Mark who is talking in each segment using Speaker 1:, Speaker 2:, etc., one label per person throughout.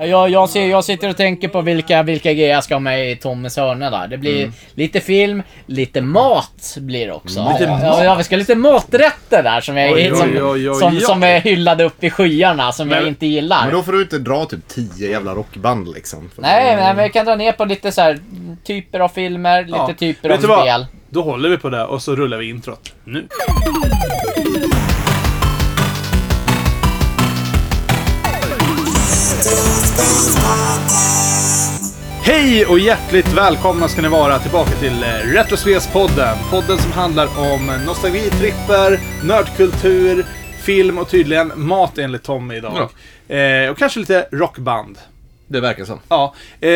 Speaker 1: Jag, jag, ser, jag sitter och tänker på vilka, vilka grejer jag ska ha med i Tommes hörna där. Det
Speaker 2: Mm.
Speaker 1: blir lite film, lite mat blir det också.
Speaker 2: Mat?
Speaker 1: Ja, Ja, ja, vi ska ha lite maträtter där som jag,
Speaker 2: Oj,
Speaker 1: som,
Speaker 2: oj, oj, oj,
Speaker 1: som,
Speaker 2: oj.
Speaker 1: som är hyllade upp i skyarna som jag
Speaker 3: Men-
Speaker 1: inte gillar.
Speaker 3: Men då får du inte dra typ tio jävla rockband liksom. För
Speaker 1: Nej, nej, men jag kan dra ner på lite så här typer av filmer, lite
Speaker 2: Ja.
Speaker 1: typer
Speaker 2: Vet du
Speaker 1: av
Speaker 2: vad?
Speaker 1: spel.
Speaker 2: Då håller vi på det och så rullar vi introt. Nu. Hej och hjärtligt välkomna ska ni vara tillbaka till eh, Retrosvepspodden. Podden som handlar om nostalgitripper, nördkultur, film och tydligen mat enligt Tommy idag. Eh, och kanske lite rockband.
Speaker 4: Det verkar så.
Speaker 2: Ja, eh,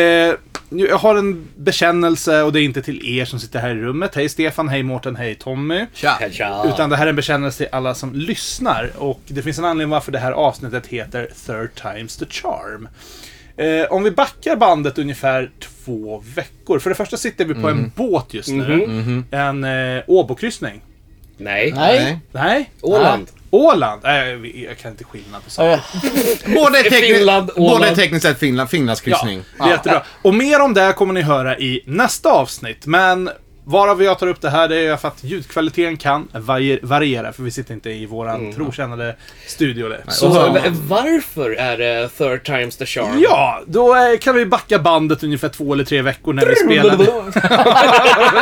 Speaker 2: jag har en bekännelse och det är inte till er som sitter här i rummet. Hej Stefan, hej Mårten, hej Tommy.
Speaker 4: Tja!
Speaker 2: Utan det här är en bekännelse till alla som lyssnar. Och det finns en anledning varför det här avsnittet heter Third Times the Charm. Eh, om vi backar bandet ungefär två veckor. För det första sitter vi på en båt just nu. En eh, Åbokryssning.
Speaker 5: Nej.
Speaker 1: Nej.
Speaker 2: Nej,
Speaker 5: Åland.
Speaker 2: Åland. Nej, jag, jag kan inte skillnad på saker.
Speaker 1: Eh,
Speaker 3: Både, tekni-
Speaker 5: Finland, Åland.
Speaker 3: både tekniskt sett Finland, Finlandskryssning.
Speaker 2: Ja, det är jättebra. Och mer om det här kommer ni höra i nästa avsnitt. Men varav jag tar upp det här det är för att ljudkvaliteten kan varier- variera. För vi sitter inte i våran trotjänade studio. Där.
Speaker 5: Så
Speaker 2: Så-
Speaker 5: v- varför är det third times the charm?
Speaker 2: Ja, då eh, kan vi backa bandet ungefär två eller tre veckor när vi spelade.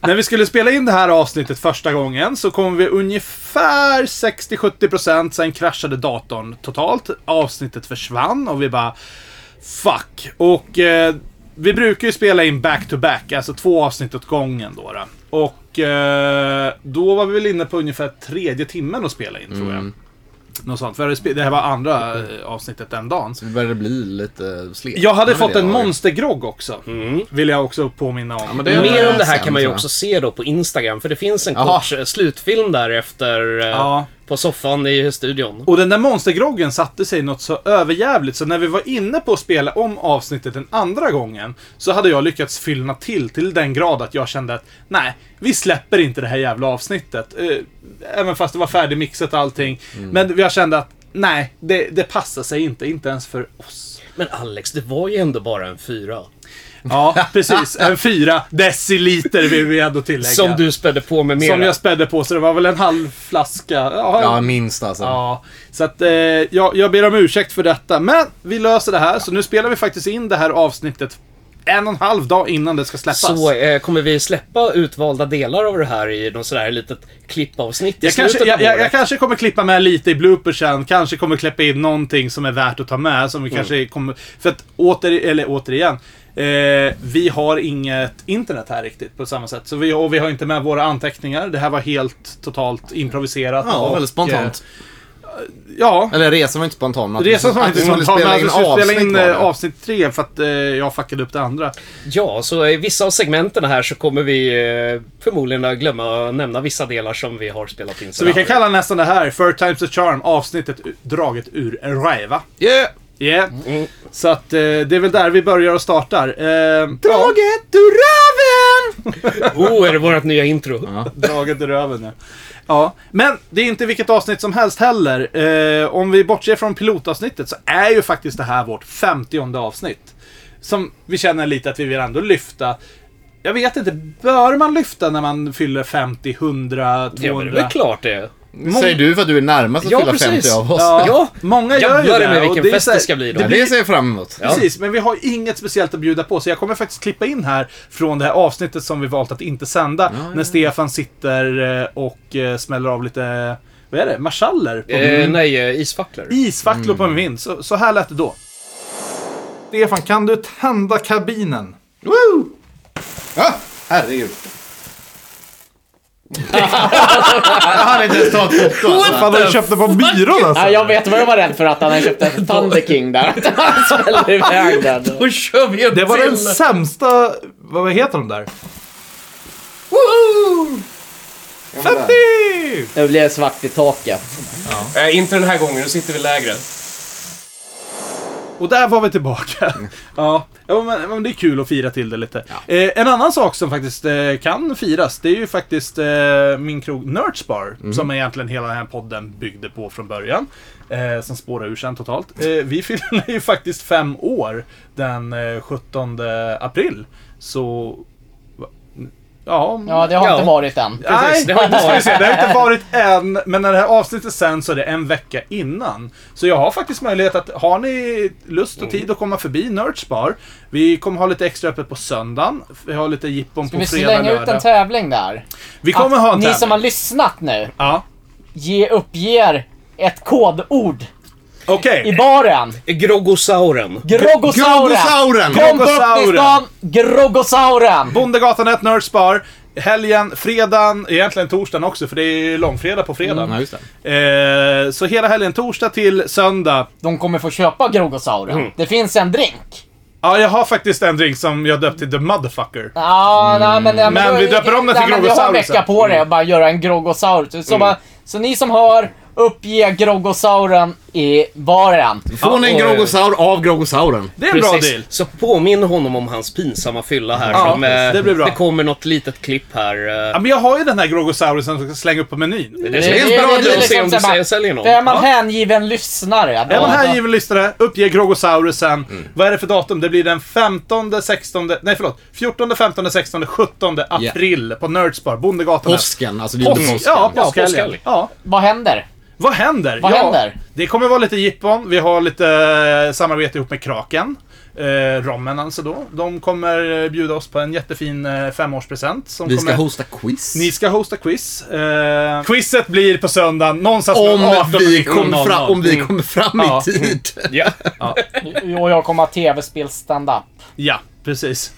Speaker 2: när vi skulle spela in det här avsnittet första gången så kom vi ungefär 60-70% sen kraschade datorn totalt. Avsnittet försvann och vi bara Fuck. Och eh, vi brukar ju spela in back-to-back, alltså två avsnitt åt gången då. då. Och eh, då var vi väl inne på ungefär tredje timmen att spela in tror jag. Något sånt. För jag hade spe- det här var andra eh, avsnittet den dagen.
Speaker 3: Så det började bli lite slet.
Speaker 2: Jag hade
Speaker 3: Men
Speaker 2: fått
Speaker 3: det
Speaker 2: en
Speaker 3: var ju- Mm.
Speaker 2: monstergrogg också. Vill jag också påminna om.
Speaker 3: men det-
Speaker 5: Mer om det här
Speaker 3: Sen,
Speaker 5: kan man ju
Speaker 3: tror jag.
Speaker 5: också se då på Instagram, för det finns en
Speaker 3: Jaha.
Speaker 5: kort eh, slutfilm där efter eh,
Speaker 2: Ja.
Speaker 5: på soffan i studion.
Speaker 2: Och den där monstergroggen satte sig något så överjävligt så när vi var inne på att spela om avsnittet den andra gången så hade jag lyckats fyllna till till den grad att jag kände att nej, vi släpper inte det här jävla avsnittet. Eh, Även fast det var färdigmixat och allting.
Speaker 3: Mm.
Speaker 2: Men jag kände att nej, det, det passar sig inte, inte ens för oss.
Speaker 5: Men Alex, det var ju ändå bara en fyra.
Speaker 2: Ja, precis. En fyra deciliter vill vi ändå tillägga.
Speaker 5: Som du spädde på med mera.
Speaker 2: Som jag spädde på, så det var väl en halv flaska. Ja,
Speaker 3: Ja, minst alltså.
Speaker 2: Ja, så att eh, jag, jag ber om ursäkt för detta. Men vi löser det här, så nu spelar vi faktiskt in det här avsnittet en och en halv dag innan det ska släppas.
Speaker 5: så eh, kommer vi släppa utvalda delar av det här i någon sådär litet klippavsnitt i
Speaker 2: jag
Speaker 5: slutet
Speaker 2: kanske, jag,
Speaker 5: av
Speaker 2: jag, jag
Speaker 5: året.
Speaker 2: kanske kommer klippa med lite i bloopersen, kanske kommer klippa in någonting som är värt att ta med. Som vi kanske kommer, för att åter, eller återigen, eh, vi har inget internet här riktigt på samma sätt. Så vi, och vi har inte med våra anteckningar. Det här var helt totalt improviserat.
Speaker 3: Ja,
Speaker 2: och,
Speaker 3: väldigt spontant.
Speaker 2: Eh, ja,
Speaker 3: Eller resan var inte spontan. men att-
Speaker 2: Resan som
Speaker 3: att
Speaker 2: inte
Speaker 3: vi skulle
Speaker 2: spontan, men att vi skulle spela in
Speaker 3: var det.
Speaker 2: eh, avsnitt tre för att eh, jag fuckade upp det andra.
Speaker 5: Ja, så i vissa av segmenten här så kommer vi eh, förmodligen glömma att nämna vissa delar som vi har spelat in.
Speaker 2: Så vi kan kalla nästan det här Third Times the Charm, avsnittet u- draget ur en räva.
Speaker 3: Yeah!
Speaker 2: Yeah.
Speaker 5: Mm.
Speaker 2: Så att eh, det är väl där vi börjar och startar. Eh, ja,
Speaker 3: Draget ur röven!
Speaker 5: Oh, är det vårt nya intro?
Speaker 2: draget ur röven nu. Ja, men det är inte vilket avsnitt som helst heller. Eh, om vi bortser från pilotavsnittet så är ju faktiskt det här vårt 50 avsnitt. Som vi känner lite att vi vill ändå lyfta. Jag vet inte, bör man lyfta när man fyller 50, 100, 200?
Speaker 5: Ja, men det är väl klart det.
Speaker 3: Säger du för att du är närmast att
Speaker 5: Ja,
Speaker 3: fylla
Speaker 5: precis.
Speaker 3: 50 av oss.
Speaker 2: Ja,
Speaker 5: Ja.
Speaker 2: många gör ju
Speaker 5: Jävlar
Speaker 2: det.
Speaker 5: med
Speaker 2: och
Speaker 5: vilken
Speaker 2: det är
Speaker 5: fest
Speaker 2: så här-
Speaker 5: det ska bli då.
Speaker 3: Ja, det ser jag fram emot.
Speaker 5: Ja.
Speaker 2: Precis, men vi har inget speciellt att bjuda på. Så jag kommer faktiskt klippa in här från det här avsnittet som vi valt att inte sända. När Stefan sitter eh, och eh, smäller av lite, vad är det, marschaller? På
Speaker 3: Mm.
Speaker 5: Eh, nej, Mm. eh, isfacklor.
Speaker 2: Isfacklor på en vind. Så, så här lät det då. Stefan, kan du tända kabinen?
Speaker 3: Woo! Ah, herregud. jag hade inte ens tagit foto alltså.
Speaker 2: Fan, du köpte på byrån alltså.
Speaker 1: Ja, jag vet vad jag var rädd för att han hade köpt en Thunder King där. Att han smällde iväg den.
Speaker 5: Då kör vi upp
Speaker 2: Det var
Speaker 5: till-
Speaker 2: den sämsta, vad heter de där? Woho! 50!
Speaker 1: Nu blev det svart i taket.
Speaker 6: Nej, inte den här gången. Nu sitter vi lägre.
Speaker 2: Och där var vi tillbaka. Ja, ja men, men det är kul att fira till det lite. Eh, en annan sak som faktiskt eh, kan firas, det är ju faktiskt eh, min krog Nerds Bar. Som egentligen hela den här podden byggde på från början. Eh, som spårade ur sen totalt. Eh, vi fyller ju faktiskt fem år den eh, 17 april. Så... va- Ja,
Speaker 1: Ja, det har
Speaker 5: Ja.
Speaker 1: inte varit än.
Speaker 5: Precis, det har inte
Speaker 2: ska vi
Speaker 5: varit.
Speaker 2: se, det har inte varit än, men när det här avsnittet sen så är det en vecka innan. Så jag har faktiskt möjlighet att, har ni lust och tid att komma förbi Nerds Bar. Vi kommer ha lite extra öppet på söndagen. Vi har lite jippon
Speaker 1: Ska
Speaker 2: på
Speaker 1: vi
Speaker 2: fredag,
Speaker 1: slänga ut en
Speaker 2: lördag.
Speaker 1: tävling där?
Speaker 2: Vi kommer
Speaker 1: Att
Speaker 2: ha en
Speaker 1: Ni som har
Speaker 2: tävling.
Speaker 1: lyssnat nu,
Speaker 2: Ja,
Speaker 1: ge uppger ett kodord
Speaker 2: okej.
Speaker 1: i baren.
Speaker 5: Groggosauren.
Speaker 1: Groggosauren!
Speaker 3: Groggosauren!
Speaker 1: Kom bort till stan, Groggosauren!
Speaker 2: Bondegatan 1 Nerds Bar. Helgen, fredagen, egentligen torsdagen också för det är ju långfredag på
Speaker 1: Mm,
Speaker 2: fredagen.
Speaker 3: Ja, just det.
Speaker 2: eh, så hela helgen, torsdag till söndag.
Speaker 1: De kommer få köpa Groggosauren.
Speaker 2: Mm.
Speaker 1: Det finns en drink.
Speaker 2: Ja, jag har faktiskt en drink som jag döpt till The Motherfucker.
Speaker 1: Ja, nej, men, nej,
Speaker 2: Mm. Men
Speaker 1: då-
Speaker 2: vi döper om den till
Speaker 1: nej, men
Speaker 2: Mm.
Speaker 1: Vi har en
Speaker 2: Groggosaurus
Speaker 1: vecka
Speaker 2: sen.
Speaker 1: på det och bara göra en Groggosaurus. Så, bara, så ni som hör, uppge Groggosauren i baren.
Speaker 3: Får ni en
Speaker 5: Ja, och-
Speaker 3: groggosaur av groggosauren?
Speaker 2: Det är en bra
Speaker 5: Precis.
Speaker 2: deal.
Speaker 5: Så påminn honom om hans pinsamma fylla här.
Speaker 2: Ja,
Speaker 5: som, eh,
Speaker 2: det blir bra.
Speaker 5: det kommer något litet klipp här. eh,
Speaker 2: Ja, men jag har ju den här Grogosaurusen som jag ska slänga upp på menyn.
Speaker 5: Det
Speaker 1: Det-
Speaker 5: känns
Speaker 1: det-
Speaker 5: bra
Speaker 1: det- det-
Speaker 5: att
Speaker 1: det-
Speaker 5: se om du
Speaker 1: liksom så här
Speaker 5: säljer- säljer
Speaker 1: För är
Speaker 5: någon.
Speaker 1: man hängiven lyssnare, då,
Speaker 2: Är man här
Speaker 1: då-
Speaker 2: given lyssnare, uppge Grogosaurusen. Vad är det för datum? Det blir den 15, 16, nej förlåt. 14, 15, 16, 17 april på Nerdsbar, Bondegatan.
Speaker 3: Påsken, alltså det är ju inte
Speaker 2: Påsk,
Speaker 3: påsken.
Speaker 2: ja,
Speaker 5: Ja,
Speaker 2: påskhelgen.
Speaker 5: påskhelg.
Speaker 2: Ja.
Speaker 1: vad händer?
Speaker 2: Vad händer?
Speaker 1: Vad
Speaker 2: ja,
Speaker 1: händer?
Speaker 2: Det kommer vara lite jippon. Vi har lite eh, samarbete ihop med Kraken. Eh, rommen alltså då. De kommer eh, bjuda oss på en jättefin eh, femårspresent. Som
Speaker 3: Vi ska
Speaker 2: kommer...
Speaker 3: hosta quiz.
Speaker 2: Ni ska hosta quiz. Eh, quizet blir på söndag någonstans mellan
Speaker 3: om,
Speaker 2: 18 och
Speaker 3: vi
Speaker 2: 19.00.
Speaker 3: kom fra, om vi
Speaker 2: Mm.
Speaker 3: kommer fram
Speaker 2: Ja.
Speaker 3: i tid.
Speaker 5: Ja.
Speaker 1: Och jag kommer ha tv-spel stand-up.
Speaker 2: Ja, precis.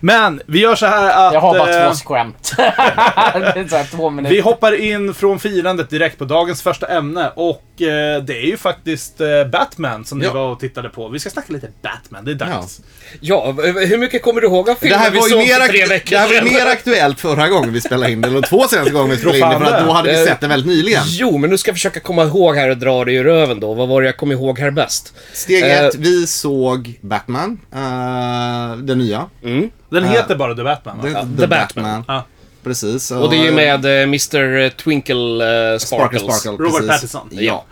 Speaker 2: Men vi gör så här att...
Speaker 1: Jag har bara
Speaker 2: eh,
Speaker 1: två skämt. det är så här två minuter.
Speaker 2: vi hoppar in från firandet direkt på dagens första ämne och eh, det är ju faktiskt eh, Batman som
Speaker 3: Ja.
Speaker 2: ni var och tittade på. Vi ska snacka lite Batman, det är dags.
Speaker 5: ja, eh, hur mycket kommer du ihåg av
Speaker 3: Det
Speaker 5: filmen
Speaker 3: här,
Speaker 5: vi
Speaker 3: var ju
Speaker 5: såg
Speaker 3: mer
Speaker 5: för tre
Speaker 3: akt-
Speaker 5: veckor
Speaker 3: det här var ju
Speaker 5: sedan?
Speaker 3: mer aktuellt förra gången vi spelade in det, eller två senaste gången vi spelade in det, för att då hade vi sett den väldigt nyligen.
Speaker 5: Jo, men nu ska jag försöka komma ihåg här och dra det ur röven då. Vad var det jag kom ihåg här bäst?
Speaker 3: Steg
Speaker 5: Eh,
Speaker 3: ett, vi såg Batman, eh, den nya.
Speaker 2: Den
Speaker 3: Eh,
Speaker 2: heter bara The Batman va?
Speaker 3: The,
Speaker 5: Mm. The Batman.
Speaker 2: Ja.
Speaker 3: Precis.
Speaker 5: Och det är ju med eh, Mr Twinkle eh, Sparkles.
Speaker 2: Robert
Speaker 3: precis.
Speaker 2: Pattinson.
Speaker 3: Ja.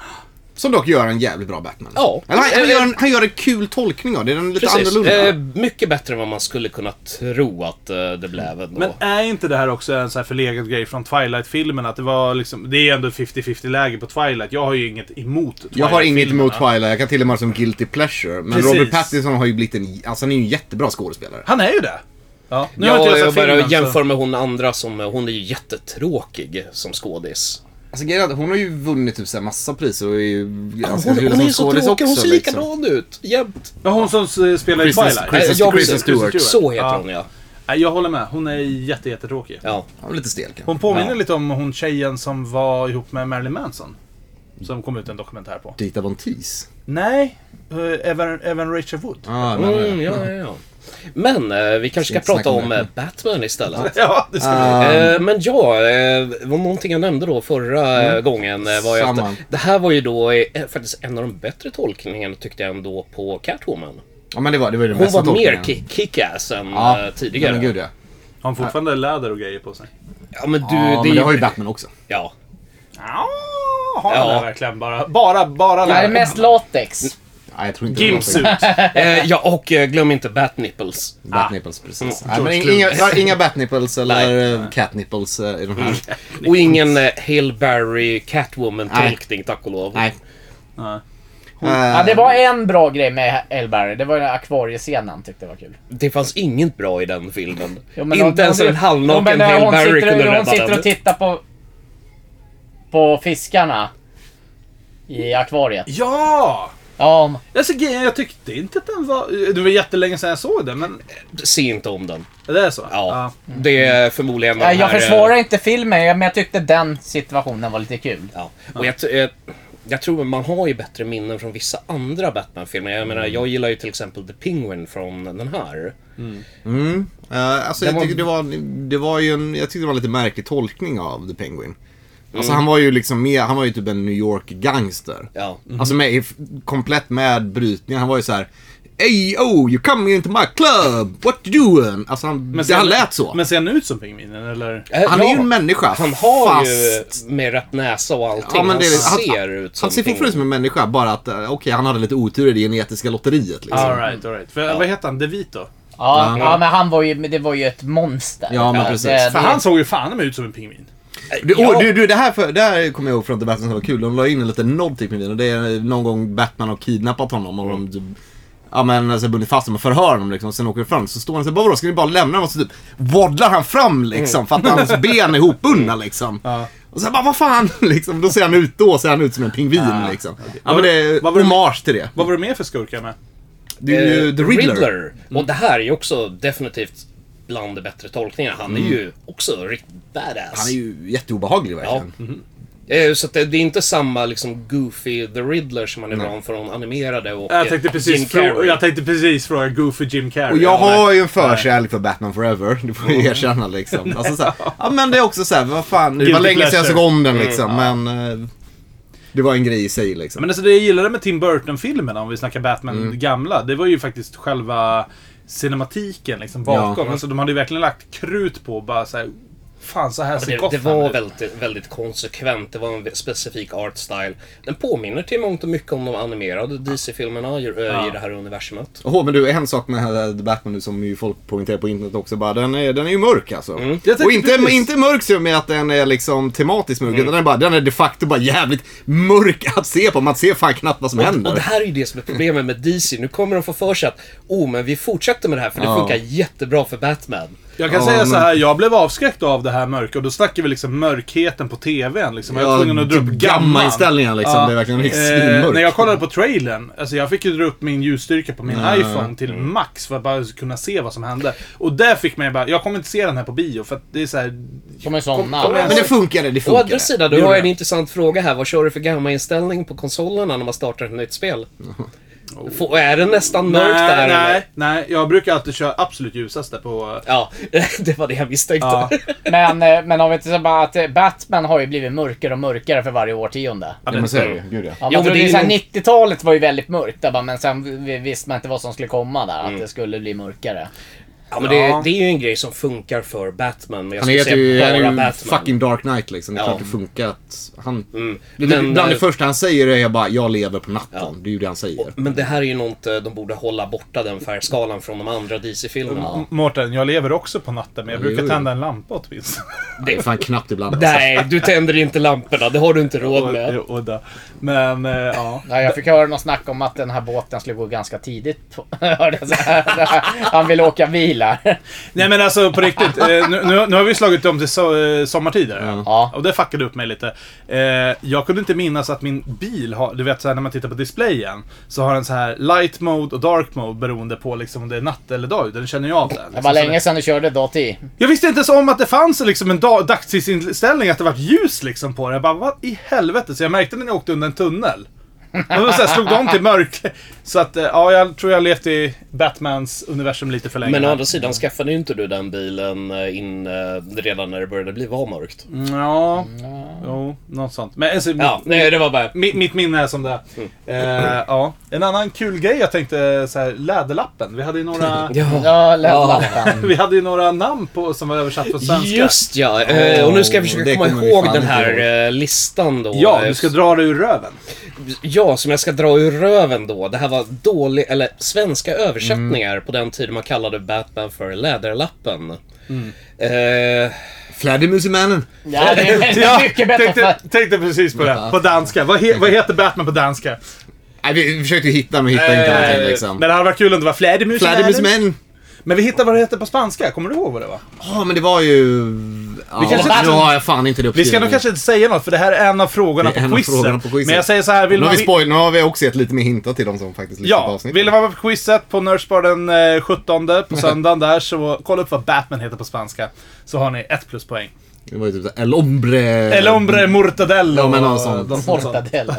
Speaker 3: Som dock gör en jävligt bra Batman.
Speaker 5: Ja.
Speaker 3: Eller han, han,
Speaker 5: Eh,
Speaker 3: gör en, han gör en kul tolkning av det, den är lite
Speaker 5: Precis.
Speaker 3: annorlunda.
Speaker 5: Eh, mycket bättre än vad man skulle kunna tro att eh, det blev ändå.
Speaker 2: Men är inte det här också en så här förlegad grej från Twilight-filmen? Att det var liksom, det är ändå 50-50 läge på Twilight. Jag har ju inget emot Twilight
Speaker 3: jag har inget emot Twilight, jag kan till och med ha som guilty pleasure. Men
Speaker 2: Precis.
Speaker 3: Robert Pattinson har ju blivit en, alltså han är ju en jättebra skådespelare.
Speaker 2: Han är ju det. Ja, nu har inte
Speaker 5: Ja,
Speaker 2: jag
Speaker 5: jag
Speaker 2: sett
Speaker 5: bara
Speaker 2: filmen.
Speaker 5: jämför
Speaker 2: så-
Speaker 5: med hon andra som, hon är ju jättetråkig som skådis.
Speaker 3: Alltså grejen är att hon har ju vunnit typ så här massa priser och är ju ganska
Speaker 5: Hon,
Speaker 3: hylld
Speaker 5: hon är
Speaker 3: som
Speaker 5: ju så
Speaker 3: skådis
Speaker 5: tråkig, hon
Speaker 3: också,
Speaker 5: ser
Speaker 3: liksom.
Speaker 5: likadan ut jämt.
Speaker 2: Ja, hon som eh, spelar i
Speaker 3: Kristen-
Speaker 2: Twilight.
Speaker 3: Kristen-
Speaker 5: Eh, ja, precis.
Speaker 3: Kristen Stewart.
Speaker 5: Så heter
Speaker 2: Ja.
Speaker 5: hon ja.
Speaker 2: Nej, jag håller med. Hon är jätte, jättetråkig.
Speaker 5: ja.
Speaker 3: Ja, lite stel kanske.
Speaker 2: Hon påminner lite om hon tjejen som var ihop med Marilyn Manson. Som kom ut en dokumentär på.
Speaker 3: Dita Von Teese.
Speaker 2: Nej, även, även Rachel Wood.
Speaker 3: Ah,
Speaker 5: Mm, ja, ja, ja. Men eh, vi kanske ska
Speaker 3: Ska inte
Speaker 5: prata
Speaker 3: snacka
Speaker 5: om
Speaker 3: om det.
Speaker 5: eh, Batman istället.
Speaker 2: Ja, det ska vi.
Speaker 5: Eh, men ja, eh, var någonting jag nämnde då förra eh, gången eh, var ju att
Speaker 3: Samma.
Speaker 5: det här var ju då eh, faktiskt en av de bättre tolkningarna tyckte jag ändå på Catwoman.
Speaker 3: Ja men det var det, var ju den
Speaker 5: Hon
Speaker 3: bästa
Speaker 5: var mer
Speaker 3: tolkningen.
Speaker 5: ki- kick-ass än eh, tidigare.
Speaker 3: Men gud ja.
Speaker 2: Har hon fortfarande läder och grejer på sig?
Speaker 5: Ja men du,
Speaker 3: ja
Speaker 5: det,
Speaker 3: men det har
Speaker 5: är
Speaker 3: ju
Speaker 5: ju...
Speaker 3: Batman också.
Speaker 5: Ja.
Speaker 2: Ja, har hon
Speaker 5: Ja.
Speaker 2: det verkligen bara? Bara, bara
Speaker 1: Det här är
Speaker 2: läder?
Speaker 1: mest latex.
Speaker 3: Nej, jag tror inte
Speaker 2: Gimpsuit.
Speaker 3: det
Speaker 5: Eh, ja, och eh, glöm inte Batnipples.
Speaker 3: var Batnipples, precis. Nej,
Speaker 5: Mm,
Speaker 3: men
Speaker 2: George
Speaker 3: inga, inga- inga Batnipples eller eh, Catnipples eh, i de här.
Speaker 5: Och ingen eh, Hail Berry Catwoman-tolkning, tack och lov.
Speaker 3: Nej. Eh,
Speaker 2: Nej.
Speaker 1: Ja, det var en bra grej med Elberry. Det var den här akvariescenen tyckte jag var kul.
Speaker 5: Det fanns inget bra i den filmen.
Speaker 1: Jo,
Speaker 5: inte
Speaker 1: hon-
Speaker 5: ens
Speaker 1: hon- jo,
Speaker 5: en
Speaker 1: men
Speaker 5: halvnaken
Speaker 1: när
Speaker 5: Hail
Speaker 1: hon
Speaker 5: Berry
Speaker 1: sitter,
Speaker 5: kunde
Speaker 1: Hon
Speaker 5: rädda
Speaker 1: sitter
Speaker 5: den.
Speaker 1: och tittar på, på fiskarna i akvariet.
Speaker 2: Ja!
Speaker 1: Ja, men-
Speaker 2: Alltså grejen, jag tyckte inte att den var... Det var jättelänge sedan jag såg den, men...
Speaker 5: Se inte om den.
Speaker 2: Det är så?
Speaker 5: Ja. Det är förmodligen den
Speaker 1: nej, jag
Speaker 5: här, eh,
Speaker 1: försvarar inte filmen, jag- men jag tyckte den situationen var lite kul.
Speaker 5: Ja. Och jag, t- eh, jag tror man har ju bättre minnen från vissa andra Batman-filmer. Jag menar, jag gillar ju till exempel The Penguin från den här.
Speaker 3: Mm. Eh, alltså,
Speaker 5: Det
Speaker 3: jag
Speaker 5: var-
Speaker 3: tycker det var, det var ju en, jag tyckte det var en lite märklig tolkning av The Penguin. Alltså han var ju liksom med, han var ju typ en New York gangster.
Speaker 5: Ja.
Speaker 3: Alltså med, i f- komplett med brytningar. Han var ju så här. Hey oh, you coming into my club, what you doing? Alltså han, det, han lät så.
Speaker 2: Men ser han ut som pingvinen eller?
Speaker 5: Eh,
Speaker 3: han
Speaker 5: ja.
Speaker 3: är ju en människa.
Speaker 5: Han har
Speaker 3: fast-
Speaker 5: ju med rätt näsa och allting.
Speaker 3: Ja, men det, är-
Speaker 5: han,
Speaker 3: han,
Speaker 5: ser
Speaker 3: han,
Speaker 5: ut som
Speaker 3: Han ser fortfarande
Speaker 5: pingvin.
Speaker 3: ut som en människa, bara att eh, okej, han hade lite otur i det genetiska lotteriet liksom.
Speaker 2: Alright, alright. För, Vad heter han? De Vito?
Speaker 1: Ja, ja, men han var ju, men det var ju ett monster.
Speaker 3: Ja, men precis.
Speaker 1: det-
Speaker 2: För
Speaker 1: det-
Speaker 2: han såg ju fan ut som en pingvin.
Speaker 3: Du,
Speaker 5: Ja.
Speaker 3: och, du, du, det här, för, det här kommer jag ihåg från debatten som var kul. De la in en liten nod till pingvinen och det är någon gång Batman har kidnappat honom och de typ, Ja men alltså bundit fast honom och förhör honom liksom, och sen åker det fram. Så står han och säger bara vadå, ska ni bara lämna honom? Och så typ waddlar han fram liksom, för att hans ben är ihopbundna liksom. Och så bara vad fan liksom, då ser han ut då, ser han ut som en pingvin liksom. Ja men det är
Speaker 2: Vad var det-
Speaker 3: hommage till det.
Speaker 2: Vad var det mer för skurkar med?
Speaker 3: Det är ju
Speaker 5: Eh,
Speaker 3: The Riddler. Mm.
Speaker 5: Och det här är ju också definitivt bland de bättre tolkningarna. Han är ju också riktigt badass.
Speaker 3: Mm. Han är ju jätteobehaglig
Speaker 5: Ja.
Speaker 3: verkligen.
Speaker 2: Mhm.
Speaker 5: Eh, Så att det, det är inte samma liksom goofy The Riddler som man är van från animerade och
Speaker 2: Jag
Speaker 5: eh,
Speaker 2: tänkte
Speaker 5: Jim
Speaker 2: precis, frå-
Speaker 5: Carrey.
Speaker 2: jag tänkte precis fråga Goofy Jim Carrey.
Speaker 3: Och jag
Speaker 2: Eller-
Speaker 3: har ju en förkärlek för Batman Forever, det får jag erkänna liksom. Alltså, så här, ja men det är också så här, vad fan, det var
Speaker 2: Guilty
Speaker 3: länge sedan jag
Speaker 2: pleasure.
Speaker 3: såg om den liksom, men eh, det var en grej i sig liksom.
Speaker 2: Men alltså det jag gillade med Tim Burton-filmerna, om vi snackar Batman
Speaker 3: Mm.
Speaker 2: gamla, det var ju faktiskt själva cinematiken liksom bakom. Alltså de hade ju verkligen lagt krut på bara såhär, fan så här ser
Speaker 5: Det, det
Speaker 2: Gotham
Speaker 5: var
Speaker 2: ut.
Speaker 5: väldigt, väldigt konsekvent. Det var en specifik art style. Den påminner till mångt och mycket om de animerade DC-filmerna i, eh, i det här universumet.
Speaker 3: Åh, men du, en sak med den här eh, Batman nu som ju folk poängterar på internet också, bara, den, är, den är ju mörk alltså.
Speaker 2: Jag
Speaker 3: Och
Speaker 2: tänkte
Speaker 3: inte,
Speaker 2: precis.
Speaker 3: inte mörk så med att den är liksom tematiskt mörk, utan den är, bara, den är de facto bara jävligt mörk att se på. Man ser fan knappt vad som händer.
Speaker 5: Och det här är ju det som är problemet med DC. Nu kommer de få för sig att oh, men vi fortsätter med det här för det
Speaker 3: Ja.
Speaker 5: funkar jättebra för Batman.
Speaker 2: Jag kan
Speaker 3: Ja,
Speaker 2: säga
Speaker 3: men-
Speaker 2: så här, jag blev avskräckt av det här mörka och då snackar vi liksom mörkheten på TVn liksom. Jag var tvungen att dra upp gamman.
Speaker 3: inställningen liksom, det är verkligen helt
Speaker 2: Eh,
Speaker 3: svinmörkt.
Speaker 2: när jag kollade på trailern, alltså jag fick ju dra upp min ljusstyrka på min iPhone till max för att bara kunna se vad som hände. Och där fick mig bara, jag kommer inte se den här på bio för att det är såhär...
Speaker 1: Kommer somna.
Speaker 3: Men det funkade, det
Speaker 5: Å
Speaker 3: funkade.
Speaker 5: andra sidan, du har jag en intressant fråga här. Vad kör du för gammainställning på konsolerna när man startar ett nytt spel?
Speaker 3: Oh.
Speaker 5: Får, är det nästan mörkt där
Speaker 2: Nej,
Speaker 5: eller?
Speaker 2: nej, nej. Jag brukar alltid köra absolut ljusaste på...
Speaker 5: Ja, det var det jag misstänkte.
Speaker 2: Ja.
Speaker 1: Men, eh, men om vi inte säger bara att eh, Batman har ju blivit mörkare och mörkare för varje årtionde.
Speaker 2: Ja,
Speaker 3: Ja, men så är det ju.
Speaker 2: det-
Speaker 3: Gud ja.
Speaker 1: Ja,
Speaker 5: Jo,
Speaker 1: man
Speaker 5: men
Speaker 1: trodde
Speaker 5: det är
Speaker 1: ju såhär,
Speaker 5: nog-
Speaker 1: 90-talet var ju väldigt mörkt, där bara, men sen vi- visste man inte vad som skulle komma där. Att det skulle bli mörkare.
Speaker 5: Ja, men det,
Speaker 2: Ja.
Speaker 5: det är ju en grej som funkar för Batman. Men jag
Speaker 3: Han
Speaker 5: skulle
Speaker 3: heter ju,
Speaker 5: säga
Speaker 3: han är
Speaker 5: bara
Speaker 3: ju
Speaker 5: Batman.
Speaker 3: fucking Dark Knight liksom. Det är
Speaker 5: Ja.
Speaker 3: klart det funkar att han...
Speaker 2: Mm.
Speaker 3: Det, är
Speaker 5: Men,
Speaker 3: bland det
Speaker 5: eh,
Speaker 3: första han säger är bara jag lever på natten. Det är ju det han säger.
Speaker 5: Men det här är ju något eh, de borde hålla borta, den färgskalan, från de andra DC-filmerna.
Speaker 3: Mm.
Speaker 2: M- Mårten, jag lever också på natten men jag
Speaker 3: Jo,
Speaker 2: brukar
Speaker 3: jo.
Speaker 2: tända en lampa åtminstone.
Speaker 3: Det är fan knappt ibland alltså.
Speaker 5: Nej, du tänder inte lamporna. Det har du inte råd med.
Speaker 2: Och- och där. Men, eh, ja.
Speaker 1: Ja, jag fick höra något snack om att den här båten skulle gå ganska tidigt. På. Hörde jag så här. Han vill åka bil här.
Speaker 2: Nej men alltså på riktigt. eh, Nu, nu, nu har vi slagit om till so eh, sommartider.
Speaker 1: Ja.
Speaker 2: Och det fuckade upp mig lite. Eh, Jag kunde inte minnas att min bil har, du vet så här, när man tittar på displayen. Så har den så här light mode och dark mode beroende på liksom om det är natt eller dag. Den känner jag av det.
Speaker 1: Det
Speaker 2: Liksom,
Speaker 1: var
Speaker 2: så
Speaker 1: länge sedan du körde Dati.
Speaker 2: Jag visste inte ens om att det fanns liksom en dag- dagtidsinställning, att det var ljus liksom på den. Jag bara, vad i helvete? Så jag märkte när jag åkte under en tunnel. Och då så här, slog de om till mörk. Så att, eh, ja, jag tror jag har levt i Batmans universum lite för länge.
Speaker 5: Men å
Speaker 2: här.
Speaker 5: andra sidan skaffade ju inte du den bilen eh, in eh, redan när det började bli var mörkt.
Speaker 3: Mm.
Speaker 2: Ja, jo, något sånt. Men alltså,
Speaker 5: Ja, nej, det var bara...
Speaker 2: mi- mitt minne är som det är. Eh, ja. En annan kul grej jag tänkte, eh, så här, läderlappen. Vi hade ju några,
Speaker 5: Ja.
Speaker 1: Ja, Läderlappen.
Speaker 2: vi hade ju några namn på, som var översatt på svenska.
Speaker 5: Just ja, eh, och nu ska jag
Speaker 3: det
Speaker 5: försöka komma
Speaker 3: kommer vi
Speaker 5: ihåg
Speaker 3: fan
Speaker 5: den
Speaker 3: inte
Speaker 5: här eh, listan då.
Speaker 2: Ja,
Speaker 5: Eh,
Speaker 2: du ska dra det ur röven.
Speaker 5: Ja, som jag ska dra ur röven då. Det här var dålig, eller svenska översättningar
Speaker 3: Mm.
Speaker 5: på den tiden man kallade Batman för Läderlappen.
Speaker 3: Mm.
Speaker 5: Eh,
Speaker 3: Alltså, Fladdermusemännen.
Speaker 1: Ja, det är det är mycket bättre.
Speaker 2: tänkte,
Speaker 1: För...
Speaker 2: tänkte precis på det. På danska. Vad, he, vad heter Batman på danska?
Speaker 3: Nej, vi försökte ju hitta men hittade inte någonting
Speaker 2: Eh,
Speaker 3: liksom.
Speaker 2: Men det hade varit kul om det var Fladdermusen.
Speaker 3: Fladdermusemännen.
Speaker 2: Men vi hittade vad det heter på spanska. Kommer du ihåg vad det var?
Speaker 3: Ja, men det var ju... Ja,
Speaker 2: Vi kanske-
Speaker 3: nu har jag fan inte det
Speaker 2: Vi
Speaker 3: uppskrivet.
Speaker 2: ska nog kanske inte säga något för det här är en av frågorna,
Speaker 3: Det är en
Speaker 2: på,
Speaker 3: av
Speaker 2: quizen.
Speaker 3: frågorna på quizen.
Speaker 2: Men jag säger så här. Vill
Speaker 3: nu, har
Speaker 2: man,
Speaker 3: vi spoil, nu har vi också gett lite mer hintar till de som faktiskt lyssnar på
Speaker 2: Ja,
Speaker 3: avsnittet.
Speaker 2: vill du vara på quizet på Nördspar den eh, 17 på söndagen där så kolla upp vad Batman heter på spanska. Så har ni ett plus poäng.
Speaker 3: Det var ju typ såhär El Hombre.
Speaker 2: El Hombre Mortadello.
Speaker 3: Ja, men någon sån.
Speaker 2: någon sån.
Speaker 1: Mortadella.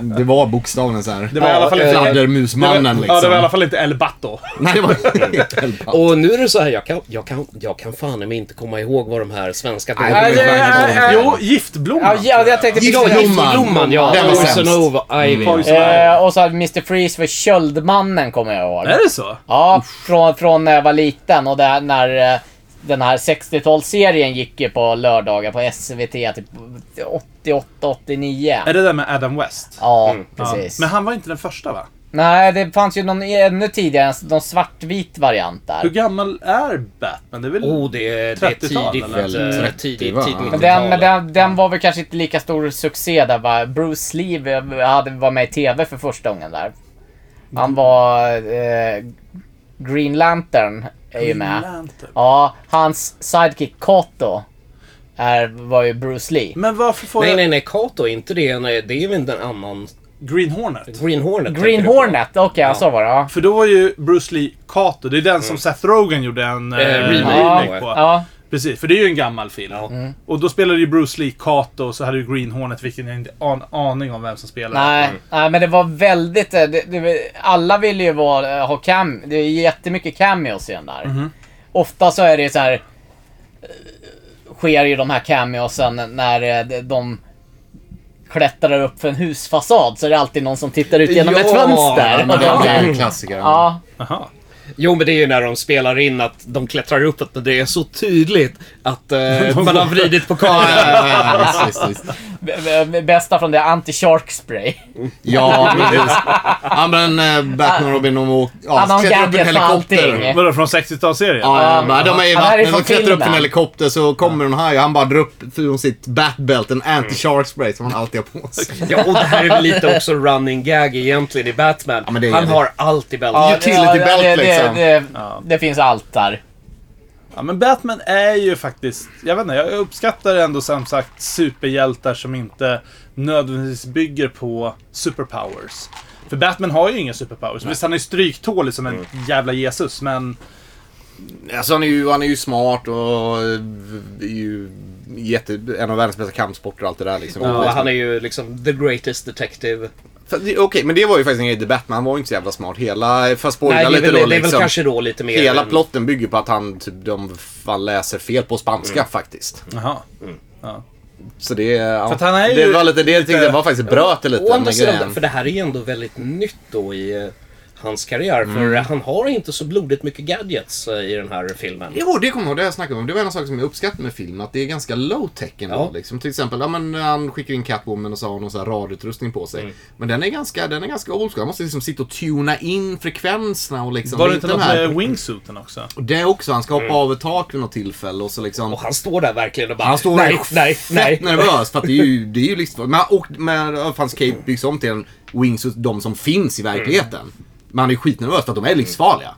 Speaker 3: Det var bokstavligen såhär.
Speaker 2: Det var i alla fall inte...
Speaker 3: Fladdermusmannen
Speaker 2: det var-
Speaker 3: liksom.
Speaker 2: Ja, det var i alla fall inte El Batto.
Speaker 3: Nej, det var El Pato.
Speaker 5: Och nu är det så här, jag kan, jag kan, jag kan fan i mig inte komma ihåg vad de här svenska
Speaker 3: Nej,
Speaker 5: dåliga-
Speaker 3: det var-
Speaker 1: är-
Speaker 2: Jo, Giftblomman.
Speaker 1: Eh, ja, ja, jag tänkte precis
Speaker 5: Ja,
Speaker 1: det.
Speaker 3: Giftblomman.
Speaker 5: Giftblomman, ja.
Speaker 3: Den var
Speaker 5: Poison
Speaker 3: sämst. Mm.
Speaker 5: Over Ivy.
Speaker 2: Poison-
Speaker 1: Eh, och så hade Mr. Freeze för Köldmannen kommer jag ihåg.
Speaker 2: Är det så?
Speaker 1: Ja, från, från när jag var liten och där, när eh, den här 60-talsserien gick ju på lördagar på SVT, typ 88, 89.
Speaker 2: Är det där med Adam West?
Speaker 1: Mm, Ja,
Speaker 2: Ja.
Speaker 1: precis.
Speaker 2: Men han var inte den första va?
Speaker 1: Nej, det fanns ju någon ännu tidigare, någon svartvit variant där.
Speaker 2: Hur gammal är Batman? Det är väl...
Speaker 5: Oh, det är, det är
Speaker 2: 30-tal,
Speaker 5: tidigt.
Speaker 3: eller?
Speaker 5: eh,
Speaker 3: 30,
Speaker 5: tidigt,
Speaker 3: va?
Speaker 5: tidigt
Speaker 1: Men den,
Speaker 5: 90-tal.
Speaker 1: men den, den var väl kanske inte lika stor succé där va? Bruce Lee eh, hade, var med i TV för första gången där.
Speaker 2: Mm.
Speaker 1: Han var... Eh, Green Lantern är ju med.
Speaker 2: Lantern.
Speaker 1: Ja, hans sidekick Kato är, var ju Bruce Lee.
Speaker 2: Men varför får
Speaker 5: Nej,
Speaker 2: jag...
Speaker 5: nej, nej. Kato är inte det. Nej, det är väl en annan...
Speaker 2: Green Hornet?
Speaker 5: Green Hornet.
Speaker 1: Green
Speaker 5: tänker du på?
Speaker 1: Hornet, okej ja. så var det ja.
Speaker 2: För då var ju Bruce Lee Kato. Det är den som Seth Rogen gjorde en Mm. eh,
Speaker 5: remake.
Speaker 2: remake på.
Speaker 1: Ja,
Speaker 2: Precis, för det är ju en gammal film.
Speaker 3: Mm.
Speaker 2: Och då spelade ju Bruce Lee Kato och så hade ju Green Hornet, vilken jag inte har en aning om vem som Mm. spelade.
Speaker 1: nej, nej, men det var väldigt... eh, Det, det, alla ville ju vara, eh, ha cam... Det är jättemycket cameos i den där. Ofta så är det så här... eh, Sker ju de här cameosen när eh, de- de klättrar upp för en husfasad så är det alltid någon som tittar ut genom ett
Speaker 5: Ja,
Speaker 1: fönster.
Speaker 3: Ja, men det
Speaker 1: ja.
Speaker 3: är en klassiker.
Speaker 1: ja.
Speaker 2: Jaha.
Speaker 5: Jo, men det är ju när de spelar in att de klättrar upp. Att det är så tydligt att eh, man har vridit på
Speaker 3: Ja,
Speaker 5: kameran.
Speaker 3: ja, ja, ja, visst, visst, visst.
Speaker 1: B- b- Bästa från det, anti-shark spray.
Speaker 3: Ja, precis. Ja, men eh, Batman och Robin, de åker...
Speaker 1: Han har
Speaker 3: Ja,
Speaker 1: en
Speaker 3: klättrar upp i en
Speaker 1: gadget för
Speaker 3: helikopter.
Speaker 1: allting.
Speaker 2: Vadå, från 60-talsserien?
Speaker 3: Ja, ja, men de är i
Speaker 1: Ja, det här är
Speaker 3: vattnet
Speaker 1: från
Speaker 3: och klättrar upp
Speaker 1: filmen.
Speaker 3: en helikopter så kommer en haj och han bara drar upp från sitt batbelt en anti-shark spray som han alltid har på sig.
Speaker 5: Ja, och det här är väl lite också running gag egentligen i Batman.
Speaker 3: men det är
Speaker 5: Han
Speaker 3: det.
Speaker 5: har allt i bältet.
Speaker 3: Ja, Utility belt,
Speaker 1: det,
Speaker 3: liksom.
Speaker 1: Det, det, det finns allt där.
Speaker 2: Ja, men Batman är ju faktiskt... Jag vet inte, jag uppskattar ändå som sagt superhjältar som inte nödvändigtvis bygger på superpowers. För Batman har ju inga superpowers. Visst, han är stryktålig som en jävla Jesus, men...
Speaker 3: Alltså han är ju, han är ju smart och eh, är ju jätte, en av världens bästa kampsporter och allt det där liksom.
Speaker 5: Och
Speaker 3: Liksom.
Speaker 5: han är ju liksom the greatest detective.
Speaker 3: För det- Okej, men det var ju faktiskt en grej. The Batman han var ju inte så jävla smart. Hela, för att spoila
Speaker 5: Nej, det, är
Speaker 3: lite
Speaker 5: väl,
Speaker 3: då
Speaker 5: det är väl
Speaker 3: liksom.
Speaker 5: kanske då lite mer...
Speaker 3: Hela
Speaker 5: än-
Speaker 3: plotten bygger på att han typ, de fan läser fel på spanska
Speaker 2: Mm.
Speaker 3: faktiskt.
Speaker 2: Jaha.
Speaker 3: Så det, ja,
Speaker 2: För att han är ju
Speaker 3: det var lite, det tyckte
Speaker 2: lite-
Speaker 3: jag var faktiskt bröt det lite.
Speaker 5: Å
Speaker 3: den
Speaker 5: andra
Speaker 3: där
Speaker 5: sidan,
Speaker 3: grejen.
Speaker 5: för det här är ju ändå väldigt nytt då i eh, hans karriär. För
Speaker 3: Mm.
Speaker 5: han har inte så blodigt mycket gadgets eh, i den här filmen.
Speaker 3: Jo, det kommer jag ihåg. Det har jag snackat om. Det var en sak som jag uppskattade med filmen. Att det är ganska low-tech ändå.
Speaker 5: Ja.
Speaker 3: Liksom. Till exempel, ja, men, han skickar in Catwoman och så har hon någon så här radutrustning på
Speaker 2: Mm.
Speaker 3: sig. Men den är ganska, den är ganska old school. Han måste liksom sitta och tuna in frekvenserna och liksom.
Speaker 2: Var det
Speaker 3: är
Speaker 2: inte
Speaker 3: den
Speaker 2: något
Speaker 3: här-
Speaker 2: med Mm. wingsuiten också?
Speaker 3: Och det också. Han ska hoppa av ett tak vid något tillfälle och så liksom.
Speaker 5: Och han står där verkligen och bara...
Speaker 3: Han står
Speaker 5: nej,
Speaker 3: där
Speaker 5: nej, nej.
Speaker 3: fett nervös för att det är ju, det är ju livsfarligt. Men, han- och men ja, hans cape byggs om till en wingsuit, de som finns i verkligheten. Men han är skitnervös för att de är livsfarliga.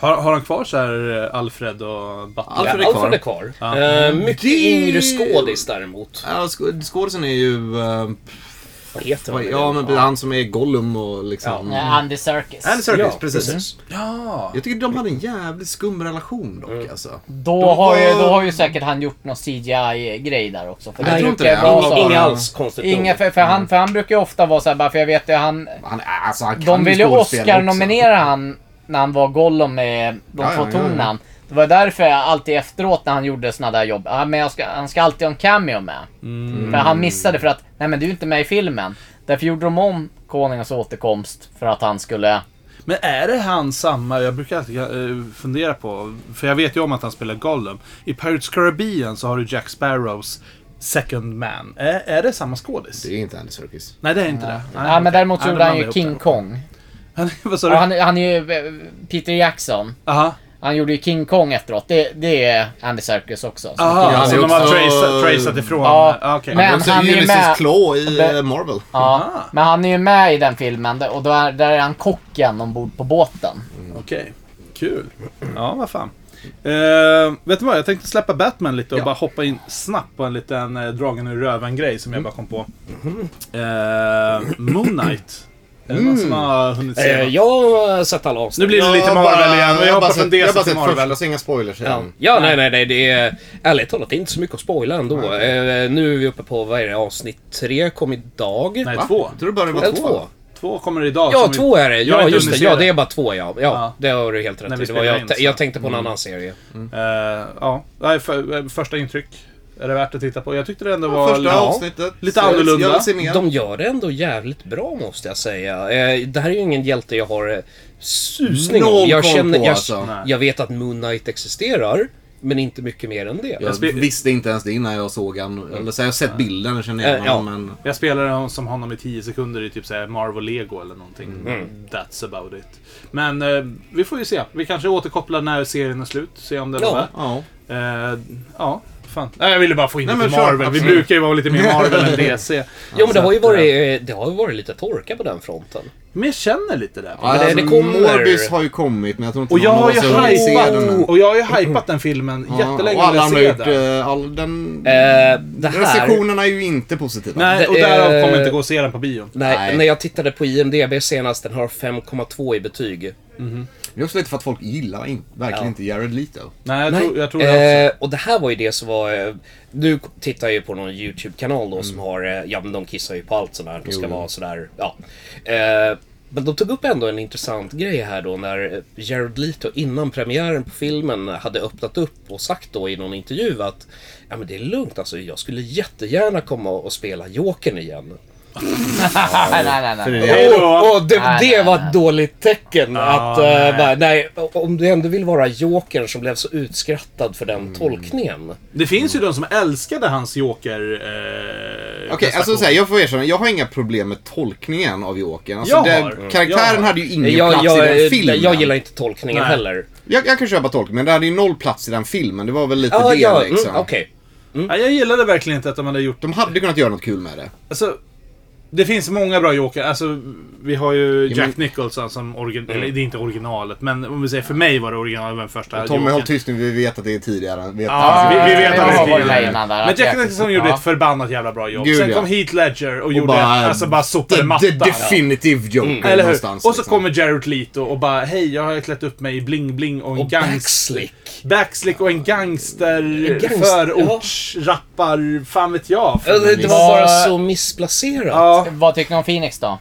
Speaker 2: Har, har de kvar så här eh, Alfred och Batman?
Speaker 3: Alfred är
Speaker 5: Ja, Alfred är kvar. Eh, mycket
Speaker 3: Det-
Speaker 5: yngre skådis däremot.
Speaker 3: Ja, sk- Skådisen är ju, eh,
Speaker 5: Vad heter han?
Speaker 3: ja men han som är Gollum och liksom.
Speaker 1: Mm. Andy Serkis.
Speaker 3: Andy Serkis,
Speaker 5: Ja,
Speaker 3: precis.
Speaker 2: Ja!
Speaker 3: Jag tycker de hade en jävligt skum relation dock alltså.
Speaker 1: Då,
Speaker 3: De
Speaker 1: har ju,
Speaker 3: var-
Speaker 1: då har ju säkert han gjort någon CGI-grej där också. För
Speaker 3: Nej, jag tror inte
Speaker 1: brukar
Speaker 3: det.
Speaker 1: vara
Speaker 3: Inga-
Speaker 1: så.
Speaker 3: bara-
Speaker 5: Inga alls konstigt nog.
Speaker 1: Inga, för, för, han, för han brukar ju ofta vara så här, bara för jag vet ju han...
Speaker 3: Han, alltså, han kan
Speaker 1: De ville ju
Speaker 3: skådespela också.
Speaker 1: Oscar-nominera han när han var Gollum med de
Speaker 3: Ja,
Speaker 1: två
Speaker 3: ja, ja, ja.
Speaker 1: tornen. Det var därför jag alltid efteråt när han gjorde såna där jobb, ah, men jag ska, han ska alltid ha en cameo med.
Speaker 3: Mm.
Speaker 1: För han missade för att, nej men du är inte med i filmen. Därför gjorde de om Konungens återkomst för att han skulle...
Speaker 2: Men är det han samma, jag brukar alltid eh, fundera på, för jag vet ju om att han spelar Gollum. I Pirates Caribbean så har du Jack Sparrows Second Man. Är, är det samma skådis?
Speaker 3: Det är inte Andy Serkis.
Speaker 2: Nej, det är inte det.
Speaker 1: Ja, men däremot så
Speaker 2: Nej,
Speaker 1: gjorde
Speaker 2: de
Speaker 1: han ju
Speaker 2: blandar
Speaker 1: King
Speaker 2: ihop
Speaker 1: Kong.
Speaker 2: det. Vad sa
Speaker 1: Och
Speaker 2: du?
Speaker 1: han, han är ju eh, Peter Jackson.
Speaker 2: Aha.
Speaker 1: Han gjorde ju King Kong efteråt. Det, det är Andy Serkis också. Så-
Speaker 2: Aha,
Speaker 3: han
Speaker 2: så
Speaker 3: är
Speaker 2: de har
Speaker 3: också-
Speaker 2: tracat, tracat ifrån.
Speaker 1: Ja,
Speaker 2: Ja, okej.
Speaker 1: men-
Speaker 3: Men också
Speaker 1: han är ju
Speaker 3: Ulysses
Speaker 1: med-
Speaker 3: Claw i
Speaker 1: Be-
Speaker 3: eh, Marvel.
Speaker 1: Ja,
Speaker 2: Ah.
Speaker 1: men han är ju med i den filmen och då är, där är han kocken ombord på båten.
Speaker 2: Okej. Kul. Ja, vad fan. Eh, vet du vad, jag tänkte släppa Batman lite och bara hoppa in snabbt på en liten Mm. eh, dragen ur röven-grej som jag bara kom på. Eh, Moon Knight. Är det någon som har hunnit se?
Speaker 5: Eh,
Speaker 2: något?
Speaker 5: jag har sett alla avsnitt.
Speaker 2: Nu blir det lite Marvel igen. men Jag
Speaker 3: har
Speaker 2: hoppar
Speaker 3: bara
Speaker 2: från
Speaker 3: sett,
Speaker 2: DC
Speaker 3: jag har bara
Speaker 2: till
Speaker 3: sett
Speaker 2: Marvel.
Speaker 3: första, så inga spoilers
Speaker 5: Ja,
Speaker 3: igen.
Speaker 5: ja nej, nej, nej. Det är, ärligt talat, det är inte så mycket att spoila ändå. Eh, nu är vi uppe på, vad är det, avsnitt tre kom idag?
Speaker 2: Nej,
Speaker 3: Va?
Speaker 2: två.
Speaker 3: Jag tror det bara det var
Speaker 5: Eller
Speaker 3: två.
Speaker 5: två?
Speaker 2: Två kommer idag.
Speaker 5: Ja,
Speaker 2: som vi-
Speaker 5: två är det.
Speaker 2: jag har
Speaker 5: Ja,
Speaker 2: inte
Speaker 5: just det.
Speaker 2: hunnit se
Speaker 5: Ja,
Speaker 2: det.
Speaker 5: det är bara två, ja. Ja,
Speaker 2: Ja.
Speaker 5: det har du helt
Speaker 2: När
Speaker 5: rätt
Speaker 2: vi
Speaker 5: i. Det var
Speaker 2: spelar
Speaker 5: jag,
Speaker 2: in,
Speaker 5: te- jag
Speaker 2: så.
Speaker 5: tänkte på en annan serie.
Speaker 2: Eh, ja, det här är för, eh, första intryck. Är det värt att titta på? Jag tyckte det ändå
Speaker 3: Det
Speaker 2: var...
Speaker 3: var första
Speaker 2: ja.
Speaker 3: avsnittet.
Speaker 2: Lite
Speaker 3: Så jag vill-
Speaker 2: annorlunda.
Speaker 3: Jag vill se mer.
Speaker 5: De gör det ändå jävligt bra, måste jag säga. Eh, det här är ju ingen hjälte jag har eh, susning
Speaker 3: Noll
Speaker 5: om. Jag,
Speaker 3: koll
Speaker 5: känner,
Speaker 3: på,
Speaker 5: jag,
Speaker 3: alltså.
Speaker 2: Nej.
Speaker 5: jag vet att Moon Knight existerar, men inte mycket mer än det.
Speaker 3: Jag
Speaker 2: spe-
Speaker 3: visste inte ens det innan jag såg han. Eller så här, jag har sett bilden och känner
Speaker 5: Eh,
Speaker 3: igen
Speaker 5: ja.
Speaker 3: honom men...
Speaker 2: Jag spelade hon- som honom i 10 sekunder i typ såhär Marvel Lego eller någonting. That's about it. Men eh, vi får ju se. Vi kanske återkopplar när serien är slut. Se om den
Speaker 5: Ja.
Speaker 2: är med.
Speaker 3: Ja.
Speaker 2: Eh, ja, fan. Nej, jag ville bara få in
Speaker 3: Nej,
Speaker 2: lite
Speaker 3: men kör.
Speaker 2: Marvel. Vi
Speaker 3: Absolut.
Speaker 2: brukar ju vara lite mer Marvel än DC.
Speaker 5: Jo, men det har ju
Speaker 2: Så att, eh,
Speaker 5: varit, eh, det har ju varit lite torka på den fronten.
Speaker 2: Men jag känner lite det.
Speaker 3: Ja,
Speaker 5: det-
Speaker 3: alltså,
Speaker 5: det kommer.
Speaker 3: Morbius har ju kommit men jag tror inte
Speaker 2: Och jag
Speaker 3: någon
Speaker 2: har
Speaker 3: av
Speaker 2: ju
Speaker 3: oss har hunnit se den.
Speaker 2: hypat, och jag har ju hypat den filmen
Speaker 3: Ja,
Speaker 2: jättelänge.
Speaker 3: Och alla andra har
Speaker 2: när jag
Speaker 3: gjort...
Speaker 2: ser den.
Speaker 3: eh, All, den...
Speaker 5: Eh,
Speaker 3: Mm.
Speaker 5: det här...
Speaker 3: Recensionerna är ju inte positiva.
Speaker 2: Nej, och
Speaker 5: det är-
Speaker 2: därav kommer jag inte gå och se den på bion.
Speaker 5: Nej,
Speaker 3: Nej.
Speaker 5: när jag tittade på IMDB senast, den har 5,2 i betyg.
Speaker 3: Det är också lite för att folk gillar in, verkligen
Speaker 5: Ja.
Speaker 3: inte Jared Leto.
Speaker 2: Nej, jag,
Speaker 5: Nej.
Speaker 2: Tror, jag tror det
Speaker 5: eh, och det här var ju det som var... eh, Nu tittar jag ju på någon YouTube-kanal då
Speaker 2: Mm.
Speaker 5: som har... eh, Ja, men de kissar ju på allt sådär. De ska
Speaker 3: Jo.
Speaker 5: vara sådär... Ja. Eh, men de tog upp ändå en intressant grej här då när eh, Jared Leto innan premiären på filmen hade öppnat upp och sagt då i någon intervju att ja men det är lugnt alltså jag skulle jättegärna komma och spela Jokern igen.
Speaker 1: nej, nej, nej. nej.
Speaker 2: Hej då.
Speaker 5: Och, och det,
Speaker 1: Nej,
Speaker 5: det
Speaker 1: nej,
Speaker 5: var
Speaker 1: nej.
Speaker 5: ett dåligt tecken. att, eh,
Speaker 2: nej.
Speaker 5: Bara, nej, om du ändå vill vara Jokern som blev så utskrattad för
Speaker 2: Mm.
Speaker 5: den tolkningen.
Speaker 2: Det finns ju de som älskade hans Joker... Eh,
Speaker 3: Okej, alltså
Speaker 2: prestation.
Speaker 3: så här, jag får erkänna, jag har inga problem med tolkningen av Jokern. Alltså,
Speaker 2: Jag
Speaker 3: det-
Speaker 2: har. Mm.
Speaker 3: karaktären
Speaker 2: Jag har.
Speaker 3: hade ju ingen
Speaker 5: Jag,
Speaker 3: plats i
Speaker 5: jag,
Speaker 3: den filmen.
Speaker 5: jag gillar inte tolkningen
Speaker 2: Nej.
Speaker 5: heller.
Speaker 3: jag, jag kan köpa tolkningen, men det hade ju noll plats i den filmen. Det var väl lite
Speaker 5: Ja,
Speaker 3: det
Speaker 5: ja, mm,
Speaker 3: liksom.
Speaker 5: okej.
Speaker 2: Nej, jag gillade verkligen inte att de hade gjort...
Speaker 3: De hade kunnat göra något kul med det.
Speaker 2: Alltså, det finns många bra Joker. Alltså, vi har ju
Speaker 3: Ja,
Speaker 2: Jack
Speaker 3: men- Mm.
Speaker 2: Nicholson som origin... Eller det är inte originalet, men om vi säger för mig var det originalet med den första
Speaker 3: Tommy,
Speaker 2: Jokern.
Speaker 3: håll tyst nu, vi vet att det är tidigare. Vi vet
Speaker 2: Ja,
Speaker 3: att-
Speaker 2: vi, vi vet
Speaker 1: Jag
Speaker 2: att det
Speaker 1: har
Speaker 2: är
Speaker 1: varit med
Speaker 2: tidigare.
Speaker 1: innan där,
Speaker 2: Men
Speaker 1: att
Speaker 2: Jack
Speaker 1: jag-
Speaker 2: Nicholson gjorde
Speaker 1: ja.
Speaker 2: ett förbannat jävla bra jobb.
Speaker 3: Gud,
Speaker 2: Sen
Speaker 3: ja.
Speaker 2: kom Heath Ledger och, gjorde...
Speaker 3: bara-
Speaker 2: alltså bara sopade
Speaker 3: The, the
Speaker 2: mattan.
Speaker 3: definitive Joker
Speaker 2: Mm. Eller hur?
Speaker 3: någonstans.
Speaker 2: Och så
Speaker 3: liksom.
Speaker 2: kommer Jared Leto och bara Hej, jag har klätt upp mig i bling-bling och en
Speaker 5: Och
Speaker 2: gangster...
Speaker 5: Backslick.
Speaker 2: Backslick och en gangster...
Speaker 5: Gangst-
Speaker 2: förorts... Rappar... Fan vet jag.
Speaker 5: Ja, Det, det
Speaker 1: Vad-
Speaker 5: var bara så missplacerat.
Speaker 2: Ja,
Speaker 1: Vad tycker ni om Phoenix då?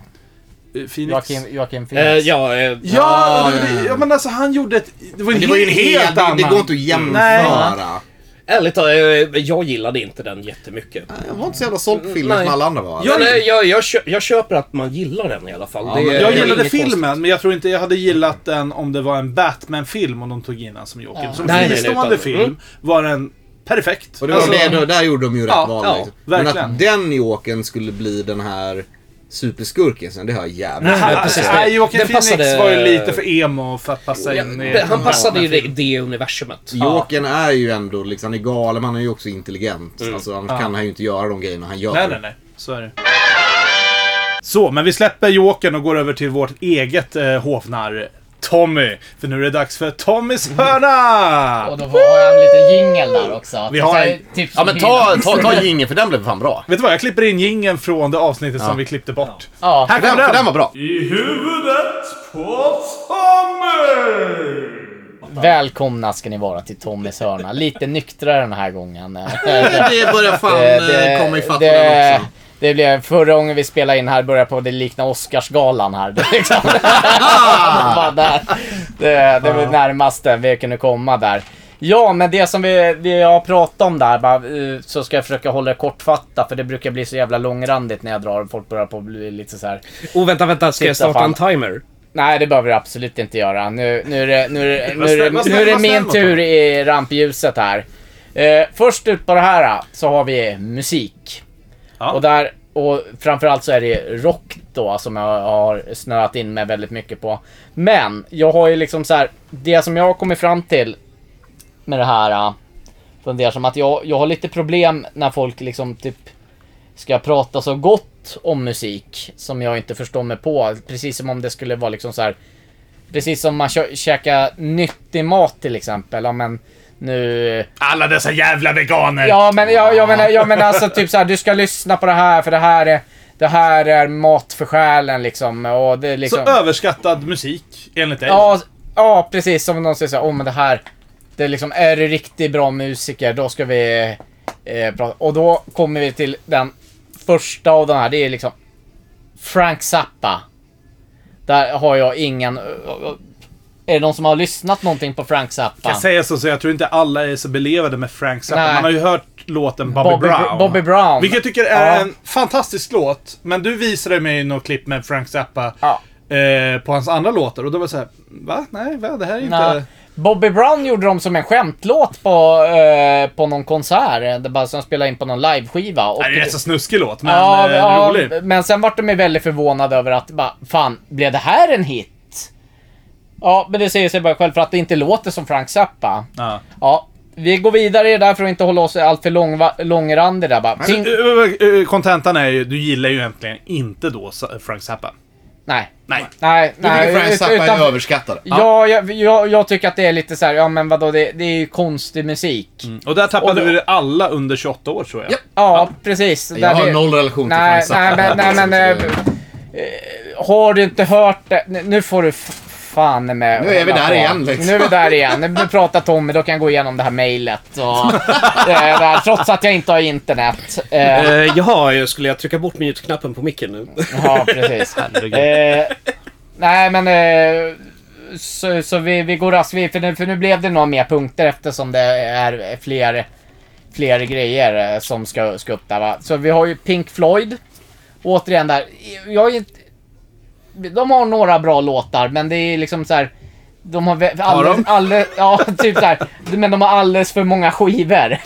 Speaker 2: Phoenix.
Speaker 1: Joakim, Joakim
Speaker 5: Eh,
Speaker 1: Phoenix?
Speaker 5: ja, eh,
Speaker 2: Ja,
Speaker 3: Ja,
Speaker 2: det-
Speaker 3: ja, ja.
Speaker 2: ja, men alltså han gjorde ett... Det var en,
Speaker 3: Det var ju en
Speaker 2: helt, helt
Speaker 3: det,
Speaker 2: annan. Mm.
Speaker 3: det går inte att
Speaker 2: Nej.
Speaker 3: jämföra.
Speaker 5: ärligt talat, eh, jag gillade inte den jättemycket.
Speaker 3: Jag var inte så jävla
Speaker 2: Mm,
Speaker 3: såld på filmen
Speaker 5: Nej.
Speaker 3: som alla andra var.
Speaker 5: Men, eh, jag, jag, kö- jag köper att man gillar den i alla fall.
Speaker 3: men
Speaker 5: är-
Speaker 2: Jag
Speaker 5: det är
Speaker 2: gillade
Speaker 5: inget
Speaker 2: filmen,
Speaker 5: konstigt.
Speaker 2: men jag tror inte jag hade gillat den om det var en Batman-film om de tog in den som Joker. Som
Speaker 5: Nej, nej, nej,
Speaker 2: fristående
Speaker 5: utan-
Speaker 2: film
Speaker 5: mm.
Speaker 2: var den perfekt.
Speaker 3: Och det var
Speaker 2: Alltså,
Speaker 3: det, då- där gjorde de ju rätt
Speaker 2: Ja,
Speaker 3: val.
Speaker 2: ja,
Speaker 3: liksom. Men
Speaker 2: verkligen.
Speaker 3: att den Jokern skulle bli den här superskurken sen, det har jag jävligt
Speaker 5: Nej,
Speaker 2: han,
Speaker 5: precis.
Speaker 2: nej, Joakim
Speaker 5: Den
Speaker 2: Phoenix
Speaker 5: passade-
Speaker 2: var ju lite för emo för att passa
Speaker 5: Ja,
Speaker 2: in i...
Speaker 5: det- Han passade ju i det, det universumet.
Speaker 3: Jokern är ju ändå liksom, han är galen, men han är ju också intelligent. Alltså, annars kan han ju inte göra de grejerna han gör.
Speaker 2: Nej, nej, nej. Så är det. Så, men vi släpper Jokern och går över till vårt eget eh, hovnarr Tommy. För nu är det dags för Tommys hörna!
Speaker 1: Och då har jag en liten jingel där också.
Speaker 2: Vi har
Speaker 1: Så här,
Speaker 2: en-
Speaker 1: Typ
Speaker 3: Ja
Speaker 1: som
Speaker 3: men
Speaker 1: hyllan.
Speaker 3: ta, ta, ta jingeln för den blev fan bra.
Speaker 2: Vet du vad, jag klipper in jingeln från det avsnittet som vi klippte bort.
Speaker 1: Ja.
Speaker 2: Här
Speaker 3: Den,
Speaker 2: kommer den!
Speaker 3: för den var bra.
Speaker 2: I huvudet på Tommy!
Speaker 1: Välkomna ska ni vara till Tommys hörna. Lite nyktrare den här gången.
Speaker 3: Det börjar fan eh, komma ifatt med den
Speaker 1: det,
Speaker 3: också.
Speaker 1: det blev förra gången vi spelade in här började på det likna Oscarsgalan här. Det, är liksom,
Speaker 3: Ah!
Speaker 1: Bara där. det, det var det närmaste vi kunde komma där. Ja, men det som vi, vi har pratat om där, bara, eh, så ska jag försöka hålla det kortfattat för det brukar bli så jävla långrandigt när jag drar och folk börjar på att bli lite så här.
Speaker 5: Och Oh, vänta, vänta, ska jag
Speaker 1: Titta
Speaker 5: starta en
Speaker 1: fan.
Speaker 5: timer?
Speaker 1: Nej, det behöver du absolut inte göra. Nu, nu, är, det, nu, är, det, nu,
Speaker 2: Vad
Speaker 1: är, det,
Speaker 2: snäll- vad
Speaker 1: nu
Speaker 2: snäll-
Speaker 1: är det
Speaker 2: vad snäll
Speaker 1: min
Speaker 2: mot
Speaker 1: tur i rampljuset här. Eh, först ut på det här eh, så har vi musik.
Speaker 2: Ja.
Speaker 1: Och, där, och framförallt så är det rock då som jag har snöat in mig väldigt mycket på. Men jag har ju liksom så här, det som jag har kommit fram till med det här. eh, Från det som att jag, jag har lite problem när folk liksom typ ska prata så gott om musik som jag inte förstår mig på. Precis som om det skulle vara liksom så här. Precis som man kö- käkar nyttig mat till exempel. Ja men nu...
Speaker 2: Alla dessa jävla veganer!
Speaker 1: Ja men jag, jag menar, jag menar alltså typ så här, du ska lyssna på det här för det här är... det här är mat för själen liksom. Och det är
Speaker 2: Så
Speaker 1: liksom...
Speaker 2: överskattad musik, enligt dig.
Speaker 1: Ja, ja, precis. Som någon säger såhär, oh, men det här. Det är liksom, är du riktigt bra musiker, då ska vi eh, prata. Och då kommer vi till den första av den här. Det är liksom Frank Zappa. Där har jag ingen... eh, Är det någon som har lyssnat någonting på Frank Zappa?
Speaker 2: Jag säger så, så jag tror inte alla är så belevade med Frank Zappa.
Speaker 1: Nej.
Speaker 2: Man har ju hört låten Bobby,
Speaker 1: Bobby
Speaker 2: Brown.
Speaker 1: Bobby Brown.
Speaker 2: Vilket jag tycker är
Speaker 1: Ja.
Speaker 2: en fantastisk låt. Men du visade mig något klipp med Frank Zappa
Speaker 1: Ja.
Speaker 2: eh, på hans andra låtar. Och då var jag såhär, va? Nej, va? det här är inte...
Speaker 1: Nej. Bobby Brown gjorde dem som en skämtlåt på, eh, på någon konsert. Det bara som spelade in på någon liveskiva. Och
Speaker 2: Nej, det är en rätt så snuskig låt, men
Speaker 1: Ja,
Speaker 2: eh,
Speaker 1: ja,
Speaker 2: rolig.
Speaker 1: men sen vart de ju väldigt förvånade över att, bara, fan, blev det här en hit? Ja, men det säger sig bara själv för att det inte låter som Frank Zappa.
Speaker 2: Ja.
Speaker 1: Ja, vi går vidare i det där för att inte hålla oss alltför lång, långrandiga där bara. Ping,
Speaker 2: Så, eh, eh, Kontentan är ju, du gillar ju egentligen inte då Sa- Frank Zappa.
Speaker 1: nej,
Speaker 2: Nej.
Speaker 1: nej,
Speaker 3: Du
Speaker 1: nej.
Speaker 3: tycker Frank
Speaker 1: ut-
Speaker 3: Zappa
Speaker 1: utan-
Speaker 3: är överskattad?
Speaker 1: Ja, jag, jag, jag tycker att det är lite så här, ja men vadå, det, det är ju konstig musik.
Speaker 2: Och där tappade
Speaker 1: Och då-
Speaker 2: vi alla under 28 år tror jag.
Speaker 3: Mm. Ja.
Speaker 1: Ja, precis.
Speaker 3: Jag har
Speaker 1: det-
Speaker 3: noll relation till
Speaker 1: Nej,
Speaker 3: Frank Zappa.
Speaker 1: nej, men- nej, men, eh, Har du inte hört det? N- Nu får du f- fan med
Speaker 3: Nu är vi
Speaker 1: hålla
Speaker 3: där
Speaker 1: på.
Speaker 3: igen, liksom.
Speaker 1: Nu är vi där igen. Nu pratar Tommy, då kan jag gå igenom det här mejlet och eh, det här, Trots att jag inte har internet. Eh,
Speaker 5: Eh, jaha, jag skulle jag trycka bort mute-knappen på micken nu?
Speaker 1: ja, precis. Eh, nej, men... Eh, så, så vi, vi går raskt vid, för nu, för nu blev det några mer punkter eftersom det är fler, fler grejer eh, som ska, ska upp där va. Så vi har ju Pink Floyd. Återigen där, jag är inte... De har några bra låtar, men det är liksom så här. De har vä- alldeles,
Speaker 2: de?
Speaker 1: alldeles, ja, typ så här. Men de har alldeles för många skivor.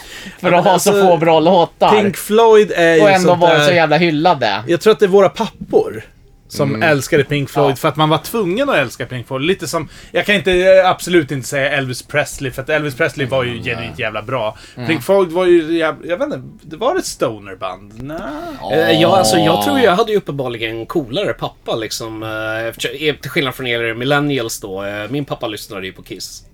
Speaker 1: För att ha så
Speaker 4: alltså,
Speaker 1: få bra låtar.
Speaker 4: Pink Floyd är ju
Speaker 1: och ändå
Speaker 4: sånt
Speaker 1: varit
Speaker 4: där-
Speaker 1: så jävla hyllade.
Speaker 2: Jag tror att det är våra pappor som älskade Pink Floyd för att man var tvungen att älska Pink Floyd. Lite som, jag kan inte, eh, absolut inte säga Elvis Presley för att Elvis Presley var ju genuint jävla bra. Pink Floyd var ju, jävla, jag vet inte, det var ett stonerband? Nej.
Speaker 5: Eh, ja, alltså,
Speaker 3: Ah.
Speaker 5: jag tror jag hade ju uppenbarligen en coolare pappa liksom. Eh, eftersom- eh, till skillnad från er millennials då. Eh, min pappa lyssnade ju på Kiss.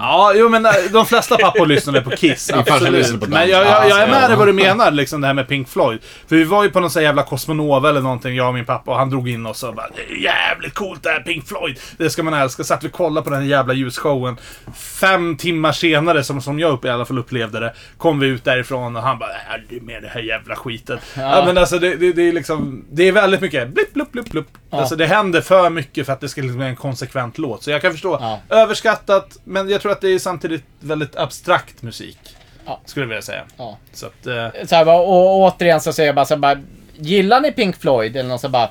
Speaker 2: Ja, jo men eh, de flesta pappor lyssnade på Kiss.
Speaker 3: farsa
Speaker 2: Absolut.
Speaker 3: lyssnade på
Speaker 2: men
Speaker 3: Damp.
Speaker 2: jag, jag, jag är
Speaker 3: Ja,
Speaker 2: med
Speaker 3: ja.
Speaker 2: dig vad du menar, liksom det här med Pink Floyd. För vi var ju på någon sån här jävla Cosmonova eller någonting, jag och min pappa. Och han drog in oss och bara "Det är jävligt coolt det här Pink Floyd. Det ska man älska. Satt vi och kollade på den här jävla ljusshowen. Fem timmar senare, som, som jag upp, i alla fall upplevde det, kom vi ut därifrån och han bara "Äh, det är med det här jävla skiten. Ja. men alltså det, det, det är liksom, det är väldigt mycket blipp, blipp, blipp, blipp. Alltså det händer för mycket för att det ska liksom bli en konsekvent låt. Så jag kan förstå.
Speaker 1: Ja.
Speaker 2: Överskattat, men jag tror att det är samtidigt väldigt abstrakt musik.
Speaker 1: Ja.
Speaker 2: Skulle jag vilja säga.
Speaker 1: Ja.
Speaker 2: Så att, eh,
Speaker 1: Så här, bara- och återigen så säger jag bara så här, bara, gillar ni Pink Floyd? Eller någon så här, bara,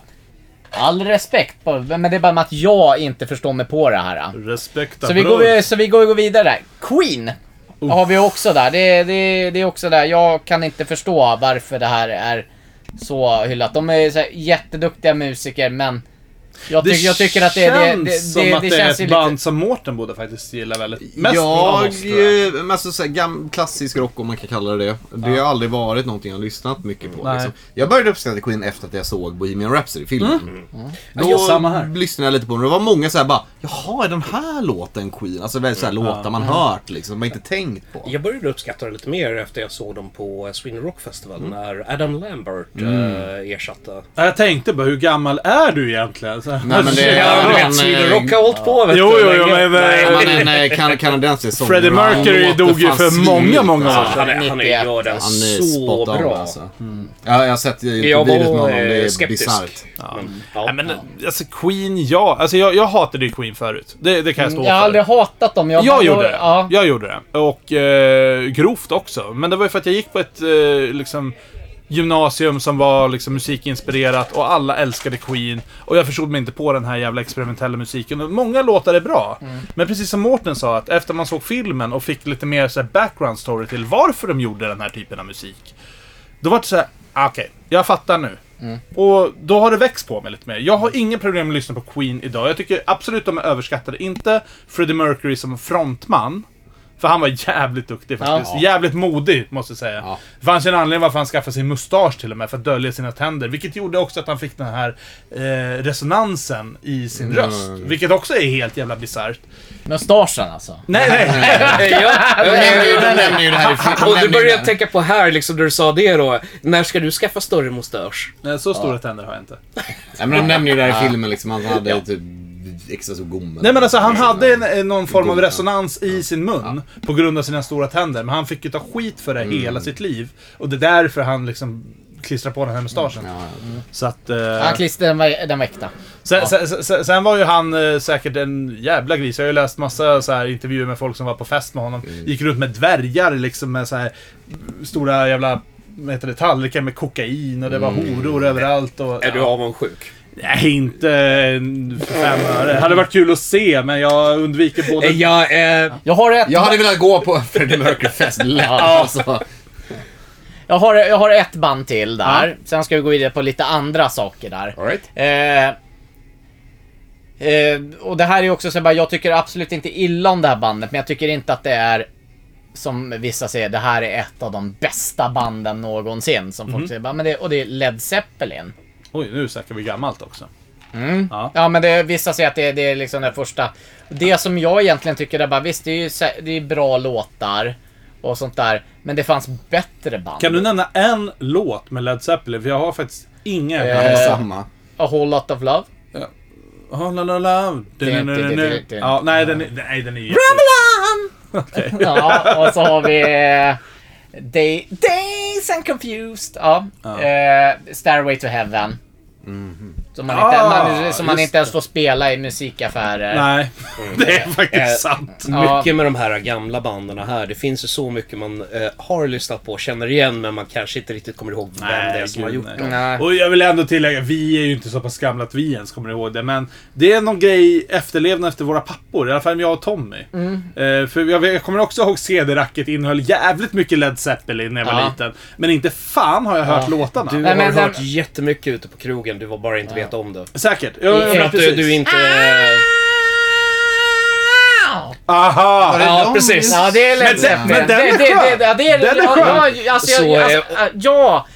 Speaker 1: all respekt, bara, men det är bara med att jag inte förstår mig på det här.
Speaker 2: respekt
Speaker 1: Så vi, går, vi- så vi går, går vidare där. Queen har vi också där. Det, det, det är också där, jag kan inte förstå varför det här är så hyllat. De är så här, jätteduktiga musiker, men jag, tycker- jag tycker att det, det, det, det,
Speaker 2: känns som att det,
Speaker 1: känns
Speaker 2: är
Speaker 1: ju
Speaker 2: ett
Speaker 1: lite-
Speaker 2: band som Mårten borde faktiskt gilla väldigt mest av
Speaker 3: Jag,
Speaker 2: oss, tror jag.
Speaker 3: eh, men alltså, så här, gam, klassisk rock om man kan kalla det det. Det har aldrig varit någonting jag har lyssnat mycket på.
Speaker 2: Nej.
Speaker 3: Liksom. Jag började uppskatta Queen efter att jag såg Bohemian Rhapsody, filmen. Mm. Då
Speaker 2: Mm. Ja, samma här.
Speaker 3: lyssnade jag lite på den och det var många så här bara, jaha, är den här låten Queen? Alltså väldigt så här låtar man
Speaker 2: Mm.
Speaker 3: hört liksom, man inte tänkt på.
Speaker 5: Jag började uppskatta det lite mer efter jag såg dem på eh, Sweden Rock Festival
Speaker 3: Mm.
Speaker 5: när Adam Lambert eh, ersatte.
Speaker 2: Jag tänkte bara, hur gammal är du egentligen? Så,
Speaker 3: Nej, men det-
Speaker 5: Ja, du vet, Sweden Rock har hållit på vet
Speaker 2: Jo,
Speaker 5: du,
Speaker 2: jo, jo,
Speaker 5: länge.
Speaker 2: men-
Speaker 5: Nej,
Speaker 3: Han är en eh, kan- kanadensisk sångare.
Speaker 2: Freddie
Speaker 3: Han
Speaker 2: Mercury
Speaker 3: låter
Speaker 2: dog ju
Speaker 3: fan
Speaker 2: för många,
Speaker 3: svinligt,
Speaker 2: många år
Speaker 3: alltså.
Speaker 5: Han, är- han är-
Speaker 1: 91.
Speaker 5: gör den
Speaker 3: Han är
Speaker 5: så
Speaker 3: spot on
Speaker 5: bra.
Speaker 3: alltså.
Speaker 2: Mm.
Speaker 3: Ja, jag har sett
Speaker 5: Jag
Speaker 3: intervjuer med
Speaker 5: var
Speaker 3: honom,
Speaker 5: eh,
Speaker 3: det är
Speaker 5: skeptisk. Mm.
Speaker 3: bisarrt.
Speaker 5: Men,
Speaker 2: Nej, men alltså Queen, ja. Alltså jag, jag hatade ju Queen förut. Det, det kan jag stå
Speaker 1: Mm, Jag har
Speaker 2: för.
Speaker 1: aldrig hatat dem. Jag,
Speaker 2: Jag gjorde det.
Speaker 1: Ja.
Speaker 2: Jag gjorde det. Och eh, grovt också. Men det var ju för att jag gick på ett eh, liksom, gymnasium som var liksom, musikinspirerat och alla älskade Queen. Och jag förstod mig inte på den här jävla experimentella musiken. Och många låtar är bra.
Speaker 1: Mm.
Speaker 2: Men precis som Mårten sa, att efter man såg filmen och fick lite mer så här, background story till varför de gjorde den här typen av musik. Då var det så här, ah, okej, jag fattar nu. Och då har det växt på mig lite mer. Jag har inga problem med att lyssna på Queen idag. Jag tycker absolut de är överskattade. Inte Freddie Mercury som frontman. För han var jävligt duktig faktiskt.
Speaker 1: Ja.
Speaker 2: Jävligt modig, måste jag säga.
Speaker 3: Ja.
Speaker 2: Det fanns ju en anledning varför han skaffade sin mustasch till och med, för att dölja sina tänder. Vilket gjorde också att han fick den här eh, resonansen i sin röst. Vilket också är helt jävla bisarrt.
Speaker 1: Mustaschen alltså.
Speaker 2: Nej, nej!
Speaker 5: Ja, ja,
Speaker 3: De nämner ju-
Speaker 5: ja.
Speaker 3: de nämner ju det här i filmen.
Speaker 5: Och du börjar jag tänka på här, liksom, när du sa det då. När ska du skaffa större mustasch?
Speaker 2: nej så stora tänder har jag inte.
Speaker 3: Nej, men de nämner ju det här i filmen liksom. Han hade typ extra stor gommel.
Speaker 2: Nej men alltså han hade en, en, någon form av resonans i sin mun på grund av sina stora tänder. Men han fick ju ta skit för det hela sitt liv. Och det är därför han liksom klistrar på den här mustaschen.
Speaker 3: Ja, ja.
Speaker 2: Så att... eh,
Speaker 1: Ja, klister, den var, den var äkta.
Speaker 2: sen, sen, sen, sen var ju han eh, säkert en jävla gris. Jag har ju läst massa så här, intervjuer med folk som var på fest med honom. Gick runt med dvärgar liksom med så här stora jävla vad heter det, tallrikar med kokain och det var horor överallt. Och,
Speaker 5: Är du avundsjuk?
Speaker 2: Nej, inte en- för fem öre. Det hade varit kul att se, men jag undviker både...
Speaker 5: Ja, eh,
Speaker 1: Jag har ett,
Speaker 3: Jag hade velat gå på Freddie Mercury-fest lätt alltså.
Speaker 1: jag har, jag har ett band till där. Sen ska vi gå vidare på lite andra saker där.
Speaker 3: All right.
Speaker 1: Eh, eh, och det här är också så här, bara, jag tycker absolut inte illa om det här bandet, men jag tycker inte att det är som vissa säger, det här är ett av de bästa banden någonsin. Som folk säger, bara, men det, och det är Led Zeppelin.
Speaker 2: Oj, nu snackar vi gammalt också.
Speaker 5: Mm.
Speaker 2: Ja.
Speaker 1: Ja men det, vissa säger att det, det är liksom den första. Det som jag egentligen tycker är bara, visst det är ju sä- det är bra låtar och sånt där. Men det fanns bättre band.
Speaker 2: Kan du nämna en låt med Led Zeppelin? För jag har faktiskt ingen.
Speaker 3: Jag
Speaker 1: Eh.
Speaker 3: hade samma.
Speaker 1: A whole lot of love.
Speaker 2: Oh, la, la, la.
Speaker 1: det, det, det, det.
Speaker 2: Ja, nej, den är, nej, den är jätte...
Speaker 1: Ja, och så har vi eh, Day, Days and Confused. Ja. Eh, Stairway to Heaven. Som man, inte,
Speaker 2: Ah,
Speaker 1: man, som man
Speaker 2: just
Speaker 1: inte ens får spela i musikaffärer.
Speaker 2: Nej, det är faktiskt
Speaker 5: Eh.
Speaker 2: sant.
Speaker 1: Ja.
Speaker 5: Mycket med de här gamla banden här. Det finns ju så mycket man eh, har lyssnat på, känner igen, men man kanske inte riktigt kommer ihåg vem det är som har gjort
Speaker 2: nej.
Speaker 5: dem.
Speaker 1: Nej.
Speaker 2: Och jag vill ändå tillägga, vi är ju inte så pass gamla att vi ens kommer ihåg det, men det är någon grej efterlevnad efter våra pappor, i alla fall jag och Tommy.
Speaker 5: Mm.
Speaker 2: Eh, för jag, jag kommer också ihåg CD-racket innehöll jävligt mycket Led Zeppelin när jag var
Speaker 1: Ja.
Speaker 2: liten. Men inte fan har jag hört låtarna.
Speaker 5: Du
Speaker 1: Nej,
Speaker 5: har
Speaker 1: men den-
Speaker 5: hört jättemycket ute på krogen, du har bara inte vetat om det.
Speaker 2: Säkert. Ja, ja,
Speaker 1: För
Speaker 5: För
Speaker 2: ja,
Speaker 5: att du,
Speaker 2: precis.
Speaker 5: du inte...
Speaker 2: Aha!
Speaker 5: Ja,
Speaker 3: de-
Speaker 5: precis.
Speaker 1: Ja, det är Led
Speaker 2: Men den-
Speaker 1: Zeppelin.
Speaker 2: men den är
Speaker 1: det, det,
Speaker 2: skön.
Speaker 1: det, ja, det är,
Speaker 2: Den är
Speaker 1: ja,
Speaker 2: skön.
Speaker 1: Ja, alltså, jag,
Speaker 5: Så,
Speaker 1: jag,
Speaker 5: eh,
Speaker 1: alltså, äh, ja.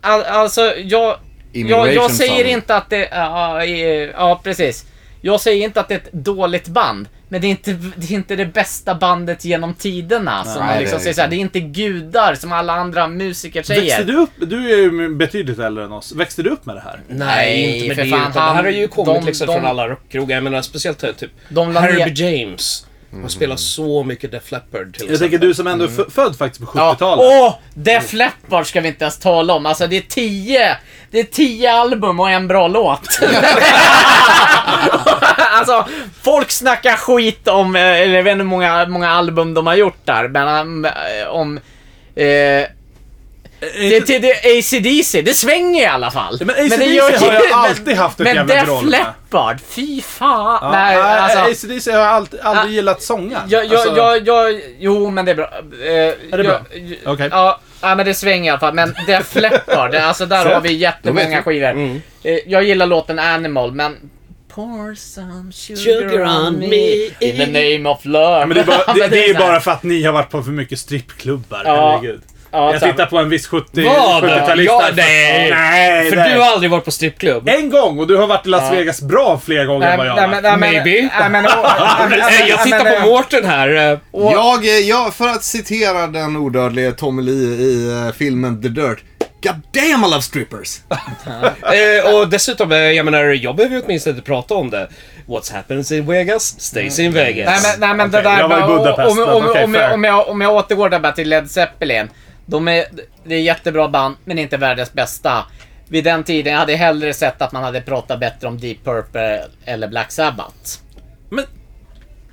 Speaker 1: Al- Alltså, jag... Jag,
Speaker 3: Immigration
Speaker 1: jag säger
Speaker 3: Song.
Speaker 1: inte att det... Ja, eh, ja, precis. Jag säger inte att det är ett dåligt band. Men det är inte det, är inte det bästa bandet genom tiderna. Som
Speaker 3: Nej,
Speaker 1: man
Speaker 3: det
Speaker 1: liksom
Speaker 3: är
Speaker 1: säger
Speaker 3: inte.
Speaker 1: såhär, det är inte gudar som alla andra musiker säger.
Speaker 2: Växte du upp? Du är ju betydligt äldre än oss. Växte du upp med det här?
Speaker 5: Nej, inte med
Speaker 1: för
Speaker 5: det.
Speaker 1: fan,
Speaker 5: utan det här
Speaker 1: han-
Speaker 5: har ju kommit
Speaker 1: de-
Speaker 5: liksom
Speaker 1: de-
Speaker 5: från alla rockkrogar. Jag menar speciellt här, typ
Speaker 1: De la
Speaker 5: Herbie
Speaker 1: ner- Mm.
Speaker 5: James. Han spelar så mycket Def Leppard till
Speaker 2: Jag tänker
Speaker 5: exempel.
Speaker 2: du som ändå är fö- född faktiskt på
Speaker 1: Ja.
Speaker 2: 70-talet.
Speaker 1: Åh! Def Leppard ska vi inte ens tala om. Alltså det är tio, det är tio album och en bra låt. alltså, folk snackar skit om, eh, eller jag vet inte hur många, många album de har gjort där, men um, eh, om... Eh, det, det, det, ACDC, det svänger i alla fall.
Speaker 2: Eh, Men AC/DC har jag alltid haft ett
Speaker 1: men
Speaker 2: jävla groll
Speaker 1: Def
Speaker 2: med.
Speaker 1: Leppard, fy fan.
Speaker 2: Ja,
Speaker 1: Nej, alltså,
Speaker 2: ACDC har jag aldrig, aldrig
Speaker 1: Ah.
Speaker 2: gillat sångar.
Speaker 1: jag, jag,
Speaker 2: Alltså,
Speaker 1: jag, jag, jo men det är bra. Eh, är
Speaker 2: det
Speaker 1: jag,
Speaker 2: bra?
Speaker 1: jag-
Speaker 2: Okej.
Speaker 1: Ja, ja, men det svänger i alla fall. Men Def Leppard, det- alltså där
Speaker 2: Så.
Speaker 1: har vi
Speaker 3: Då vet
Speaker 1: jättemånga
Speaker 3: vi.
Speaker 1: skivor.
Speaker 2: Mm.
Speaker 1: Eh, Jag gillar låten Animal, men... Pour some sugar,
Speaker 5: Sugar
Speaker 1: on
Speaker 5: on
Speaker 1: me.
Speaker 5: me.
Speaker 1: In the name of love.
Speaker 2: Ja, men det är, bara, det, det är
Speaker 1: så här.
Speaker 2: bara för att ni har varit på för mycket strippklubbar,
Speaker 1: Ja.
Speaker 2: herregud.
Speaker 1: Ja,
Speaker 2: jag
Speaker 1: så här.
Speaker 2: tittar på en viss 70,
Speaker 5: Vad?
Speaker 2: 70-talist
Speaker 5: Ja,
Speaker 2: där.
Speaker 5: nej.
Speaker 2: nej.
Speaker 5: För
Speaker 2: nej.
Speaker 5: du har aldrig varit på strippklubb?
Speaker 2: En gång, och du har varit i Las Vegas bra fler gånger än vad jag har varit.
Speaker 1: nej, men-
Speaker 5: Maybe.
Speaker 1: nej, men- åh, nej, men-
Speaker 2: alltså,
Speaker 5: Nej, Eh, jag
Speaker 1: nej,
Speaker 5: tittar
Speaker 1: men-
Speaker 5: på Mårten här. eh,
Speaker 3: Jag, eh, jag, för att citera den odödlige Tommy Lee i eh, filmen The Dirt. God damn I love strippers!
Speaker 5: Eh, och dessutom, eh, jag menar, jag behöver ju åtminstone inte prata om det. What happens in Vegas stays in Vegas.
Speaker 1: Mm. Nej men, nej, men det
Speaker 2: Okej,
Speaker 1: där...
Speaker 2: jag var i
Speaker 1: bara-
Speaker 2: Budapest,
Speaker 1: om,
Speaker 2: men
Speaker 1: om, om,
Speaker 2: okej,
Speaker 1: om, jag,
Speaker 2: fair.
Speaker 1: om, jag, om jag återgår där bara till Led Zeppelin. De är, det är jättebra band, men inte världens bästa. Vid den tiden jag hade jag hellre sett att man hade pratat bättre om Deep Purple eller Black Sabbath.
Speaker 2: Men,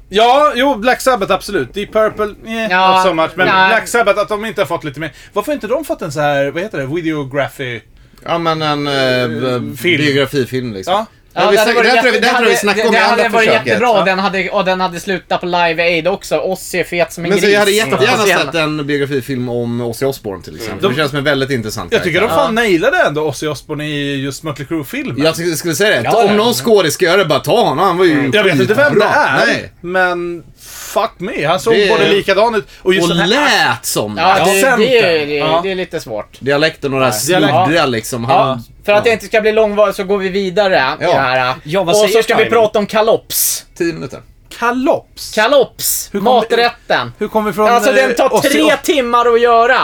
Speaker 2: ja, jo, Black Sabbath absolut. Deep Purple, nej,
Speaker 1: Ja,
Speaker 2: not so much. Men
Speaker 1: nej.
Speaker 2: Black Sabbath, att de inte har fått lite mer. Varför har inte de fått en så här, vad heter det, videography?
Speaker 3: Ja men en eh, b-
Speaker 2: film.
Speaker 3: biografifilm liksom.
Speaker 2: Ja.
Speaker 3: Ja, vi
Speaker 1: det hade
Speaker 3: snack-
Speaker 1: varit
Speaker 3: det här tror jag
Speaker 1: jätte-
Speaker 3: vi- det här tror jag vi snackade om
Speaker 1: det
Speaker 3: i
Speaker 1: hade
Speaker 3: andra
Speaker 1: varit
Speaker 3: försöket,
Speaker 1: jättebra
Speaker 3: va?
Speaker 1: och den, hade, och den hade slutat på Live Aid också. Ozzy är fet som en
Speaker 3: Men så
Speaker 1: gris.
Speaker 3: jag hade jättegärna
Speaker 1: Speciellt.
Speaker 3: sett en biografifilm om Ozzy Osbourne till exempel.
Speaker 2: Mm.
Speaker 3: Det känns som en väldigt intressant
Speaker 2: Jag tycker de
Speaker 3: karaktär.
Speaker 2: fan nailade ändå Ozzy Osbourne i just Mötley Crüe-filmen.
Speaker 3: Jag skulle- skulle säga det.
Speaker 1: Ja, ja.
Speaker 3: Om någon skådis ska göra det, bara ta honom. Han var ju
Speaker 2: Mm. Jag vet inte vem det
Speaker 3: skitbra.
Speaker 2: är,
Speaker 3: Nej.
Speaker 2: men fuck me. Han såg
Speaker 3: Det-
Speaker 2: både likadan ut och just
Speaker 3: Och
Speaker 2: den här...
Speaker 3: lät som.
Speaker 1: Ja, det, det, det,
Speaker 2: Accenten.
Speaker 1: det,
Speaker 2: Ja.
Speaker 1: det är lite svårt.
Speaker 3: Dialekten och det här
Speaker 2: Dialekt.
Speaker 3: sluddriga liksom.
Speaker 1: Ja,
Speaker 3: Han,
Speaker 1: för att det inte ska bli långvarigt så går vi vidare i det här.
Speaker 5: Ja, vad
Speaker 1: och
Speaker 5: säger
Speaker 1: så ska vi
Speaker 5: timern?
Speaker 1: prata om kalops.
Speaker 3: Tio minuter.
Speaker 2: Kalops.
Speaker 1: Kalops!
Speaker 2: Hur kom-
Speaker 1: maträtten.
Speaker 2: Hur kommer vi från...
Speaker 1: Alltså den
Speaker 2: eh,
Speaker 1: tar
Speaker 2: Ozzy
Speaker 1: tre
Speaker 2: Os-
Speaker 1: timmar att göra.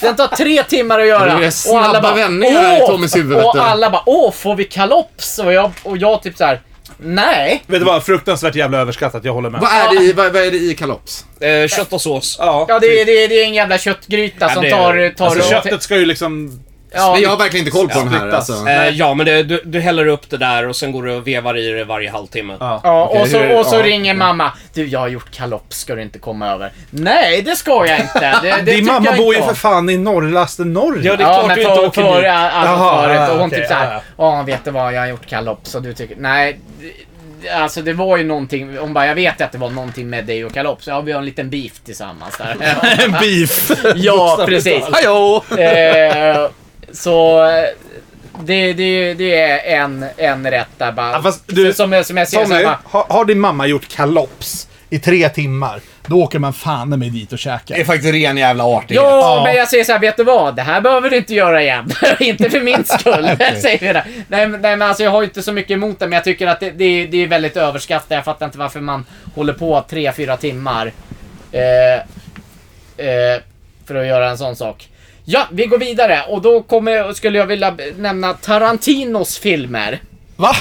Speaker 1: Den tar tre timmar att göra.
Speaker 3: Det är snabba vändningar
Speaker 1: "Åh!"
Speaker 3: i Tommys huvud, vet
Speaker 1: Och
Speaker 3: du.
Speaker 1: alla bara åh, får vi kalops? Och jag, och jag typ så här: nej.
Speaker 2: Vet du vad? Fruktansvärt jävla överskattat, jag håller med.
Speaker 3: Vad är det i, vad, vad är det i kalops?
Speaker 5: Eh, kött och sås.
Speaker 2: Ja.
Speaker 1: Ja, det, är- det, är- det är en jävla köttgryta som
Speaker 5: det är-
Speaker 1: tar... tar
Speaker 2: Alltså
Speaker 1: och-
Speaker 2: köttet ska ju liksom...
Speaker 1: ja,
Speaker 3: Men jag har verkligen inte koll på den här
Speaker 2: Splittas.
Speaker 3: alltså.
Speaker 5: Eh, ja, men det, du, du häller upp det där och sen går du och vevar i det varje halvtimme.
Speaker 2: Ja.
Speaker 1: Ja, och
Speaker 3: Okej,
Speaker 1: så,
Speaker 3: hur-
Speaker 1: och så
Speaker 3: ja.
Speaker 1: ringer mamma. Du, jag har gjort kalops, ska du inte komma över? Nej, det ska jag inte. Det, det
Speaker 2: Din
Speaker 1: tycker
Speaker 2: mamma
Speaker 1: jag
Speaker 2: bor
Speaker 1: inte
Speaker 2: ju
Speaker 1: om.
Speaker 2: för fan i norraste Norge.
Speaker 5: Ja, det- är
Speaker 1: ja,
Speaker 5: klart
Speaker 1: men
Speaker 5: du inte
Speaker 1: för,
Speaker 5: åker
Speaker 1: för,
Speaker 5: dit.
Speaker 1: Alltså
Speaker 2: Jaha,
Speaker 1: förut.
Speaker 2: ja,
Speaker 1: Och hon
Speaker 2: okej,
Speaker 1: typ såhär,
Speaker 2: ja,
Speaker 1: ja, vet du vad, jag har gjort kalops och du tycker, nej. det- Alltså det var ju någonting, hon bara, jag vet att det var någonting med dig och kalops. Ja, vi har en liten beef tillsammans där.
Speaker 2: En beef.
Speaker 1: ja, precis.
Speaker 3: Hallå!
Speaker 1: Eh, så eh, det, det, det är en, en rätt där bara.
Speaker 2: Ja, fast du-
Speaker 1: som, som jag ser så här
Speaker 2: Tommy,
Speaker 1: bara,
Speaker 2: har, har din mamma gjort kalops i tre timmar, då åker man fan med dit och
Speaker 3: Det är
Speaker 2: käkar.
Speaker 3: faktiskt ren jävla artighet.
Speaker 1: Jo,
Speaker 2: Ja.
Speaker 1: men jag säger så här, vet du vad? Det här behöver du inte göra igen. inte för min skull, säger vi det. Nej, men- nej, men alltså jag har ju inte så mycket emot det, men jag tycker att det, det, är- det är väldigt överskattat. Jag fattar inte varför man håller på 3-4 timmar eh, eh, för att göra en sån sak. Ja, vi går vidare och då kommer, skulle jag vilja b- nämna Tarantinos filmer.
Speaker 2: Va?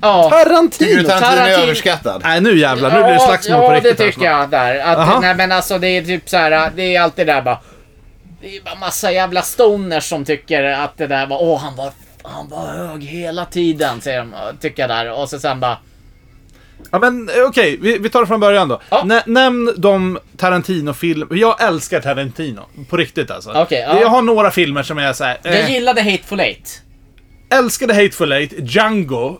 Speaker 1: Ja.
Speaker 3: Tycker du
Speaker 2: Tarantino?
Speaker 3: Tarantino är
Speaker 1: Tarantino.
Speaker 3: överskattad?
Speaker 2: Nej, nu jävlar. Nu blir det slagsmål
Speaker 1: ja,
Speaker 2: på riktigt.
Speaker 1: det tycker jag där.
Speaker 2: Aha.
Speaker 1: Att, nej men alltså det är typ så här, det är alltid där bara. Det är bara massa jävla stoners som tycker att det där var, åh han var, han var hög hela tiden, säger de, tycker jag där. Och så sen bara,
Speaker 2: Ja, men eh, okej. Vi, vi tar det från början då.
Speaker 1: Ja.
Speaker 2: Nä, nämn de Tarantino-filmer. Jag älskar Tarantino. På riktigt alltså.
Speaker 1: Okej, ja.
Speaker 2: Jag har några filmer som jag är såhär...
Speaker 1: jag
Speaker 2: Eh,
Speaker 1: gillade Hateful Eight.
Speaker 2: älskade Hateful Eight, Django.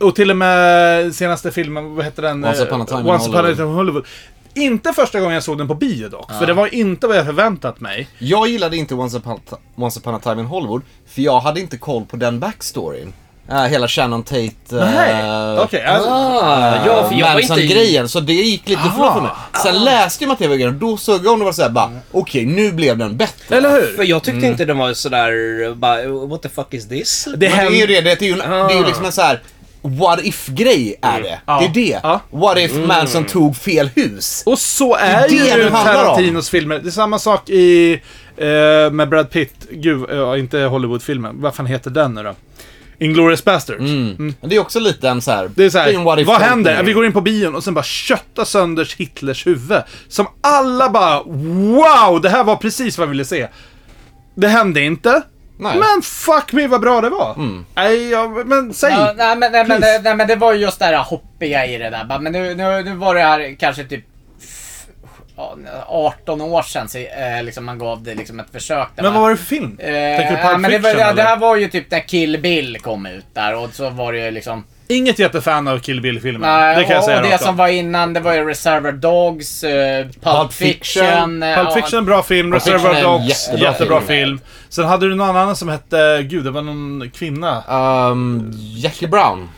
Speaker 2: Och till och med senaste filmen, vad hette den?
Speaker 3: Mm. Once upon a time in
Speaker 2: Once upon a
Speaker 3: Hollywood.
Speaker 2: time in Hollywood. Inte första gången jag såg den på bio dock. För det var inte vad jag förväntat mig.
Speaker 3: Jag gillade inte Once upon, Once upon a time in Hollywood, för jag hade inte koll på den backstoryn. Eh, hela Shannon Tate... eh,
Speaker 2: Nej. Okej, alltså.
Speaker 5: Ah, ja, för jag var inte i...
Speaker 3: Manson-grejen, så det gick
Speaker 2: Ah,
Speaker 3: lite för långt för mig. Sen läste jag Matteo-grejen och då såg jag om det var såhär bara, okej nu blev den bättre.
Speaker 2: Eller hur?
Speaker 5: För jag tyckte
Speaker 1: Mm.
Speaker 5: inte den var sådär, bara, what the fuck is this?
Speaker 2: Det
Speaker 3: Men det är ju
Speaker 2: händer... Ah.
Speaker 3: det, det är ju, en, det är ju liksom en såhär what if-grej är det.
Speaker 2: Ja.
Speaker 3: Det är det.
Speaker 2: Ja.
Speaker 3: What if Manson
Speaker 2: Mm.
Speaker 3: tog fel hus?
Speaker 2: Och så är
Speaker 3: Det är det
Speaker 2: ju
Speaker 3: det handlar om.
Speaker 2: Tarantinos filmer. Det är samma sak i... Eh, med Brad Pitt. Gud, eh, inte Hollywood-filmen. Vad fan heter den nu då? Inglourious Basterds.
Speaker 3: Mm. Det är också lite en såhär,
Speaker 2: Mm. Det är så
Speaker 3: en what
Speaker 2: här,
Speaker 3: if
Speaker 2: vad händer? Vi
Speaker 3: Vi...
Speaker 2: går in på bion och sen bara köttar sönder Hitlers huvud. Som alla bara, wow, det här var precis vad jag ville se. Det hände inte.
Speaker 3: Nej.
Speaker 2: Men fuck me vad bra det var. Nej, jag, men säg.
Speaker 1: Ja, nej, men, nej, men,
Speaker 2: Please.
Speaker 1: nej men det var ju just det här hoppiga i det där. Bara, Men nu, nu, nu var det här kanske typ f- ja, 18 år sedan så, eh, liksom man gav det liksom ett försök. där,
Speaker 2: men
Speaker 1: va?
Speaker 2: vad var det för film?
Speaker 1: Eh,
Speaker 2: Tänker du
Speaker 1: ja,
Speaker 2: Pulp
Speaker 1: men det,
Speaker 2: Fiction?
Speaker 1: var, ja, det
Speaker 2: eller?
Speaker 1: här var ju typ när Kill Bill kom ut där och så var det ju liksom...
Speaker 2: Inget jättefan av Kill Bill-filmen.
Speaker 1: Nej,
Speaker 2: Mm, Det kan jag
Speaker 1: och,
Speaker 2: säga
Speaker 1: och det
Speaker 2: rakt av.
Speaker 1: som var innan det var ju Reserver Dogs, eh, Pulp,
Speaker 3: Pulp Fiction.
Speaker 1: Fiction. eh,
Speaker 2: Pulp Fiction, bra film.
Speaker 3: Pulp Fiction är
Speaker 2: Reservoir
Speaker 3: en
Speaker 2: Dogs, jättebra,
Speaker 3: jättebra
Speaker 2: film.
Speaker 3: film.
Speaker 2: Sen hade du någon annan som hette, gud det var någon kvinna.
Speaker 1: Mm.
Speaker 3: Um, Jackie Brown.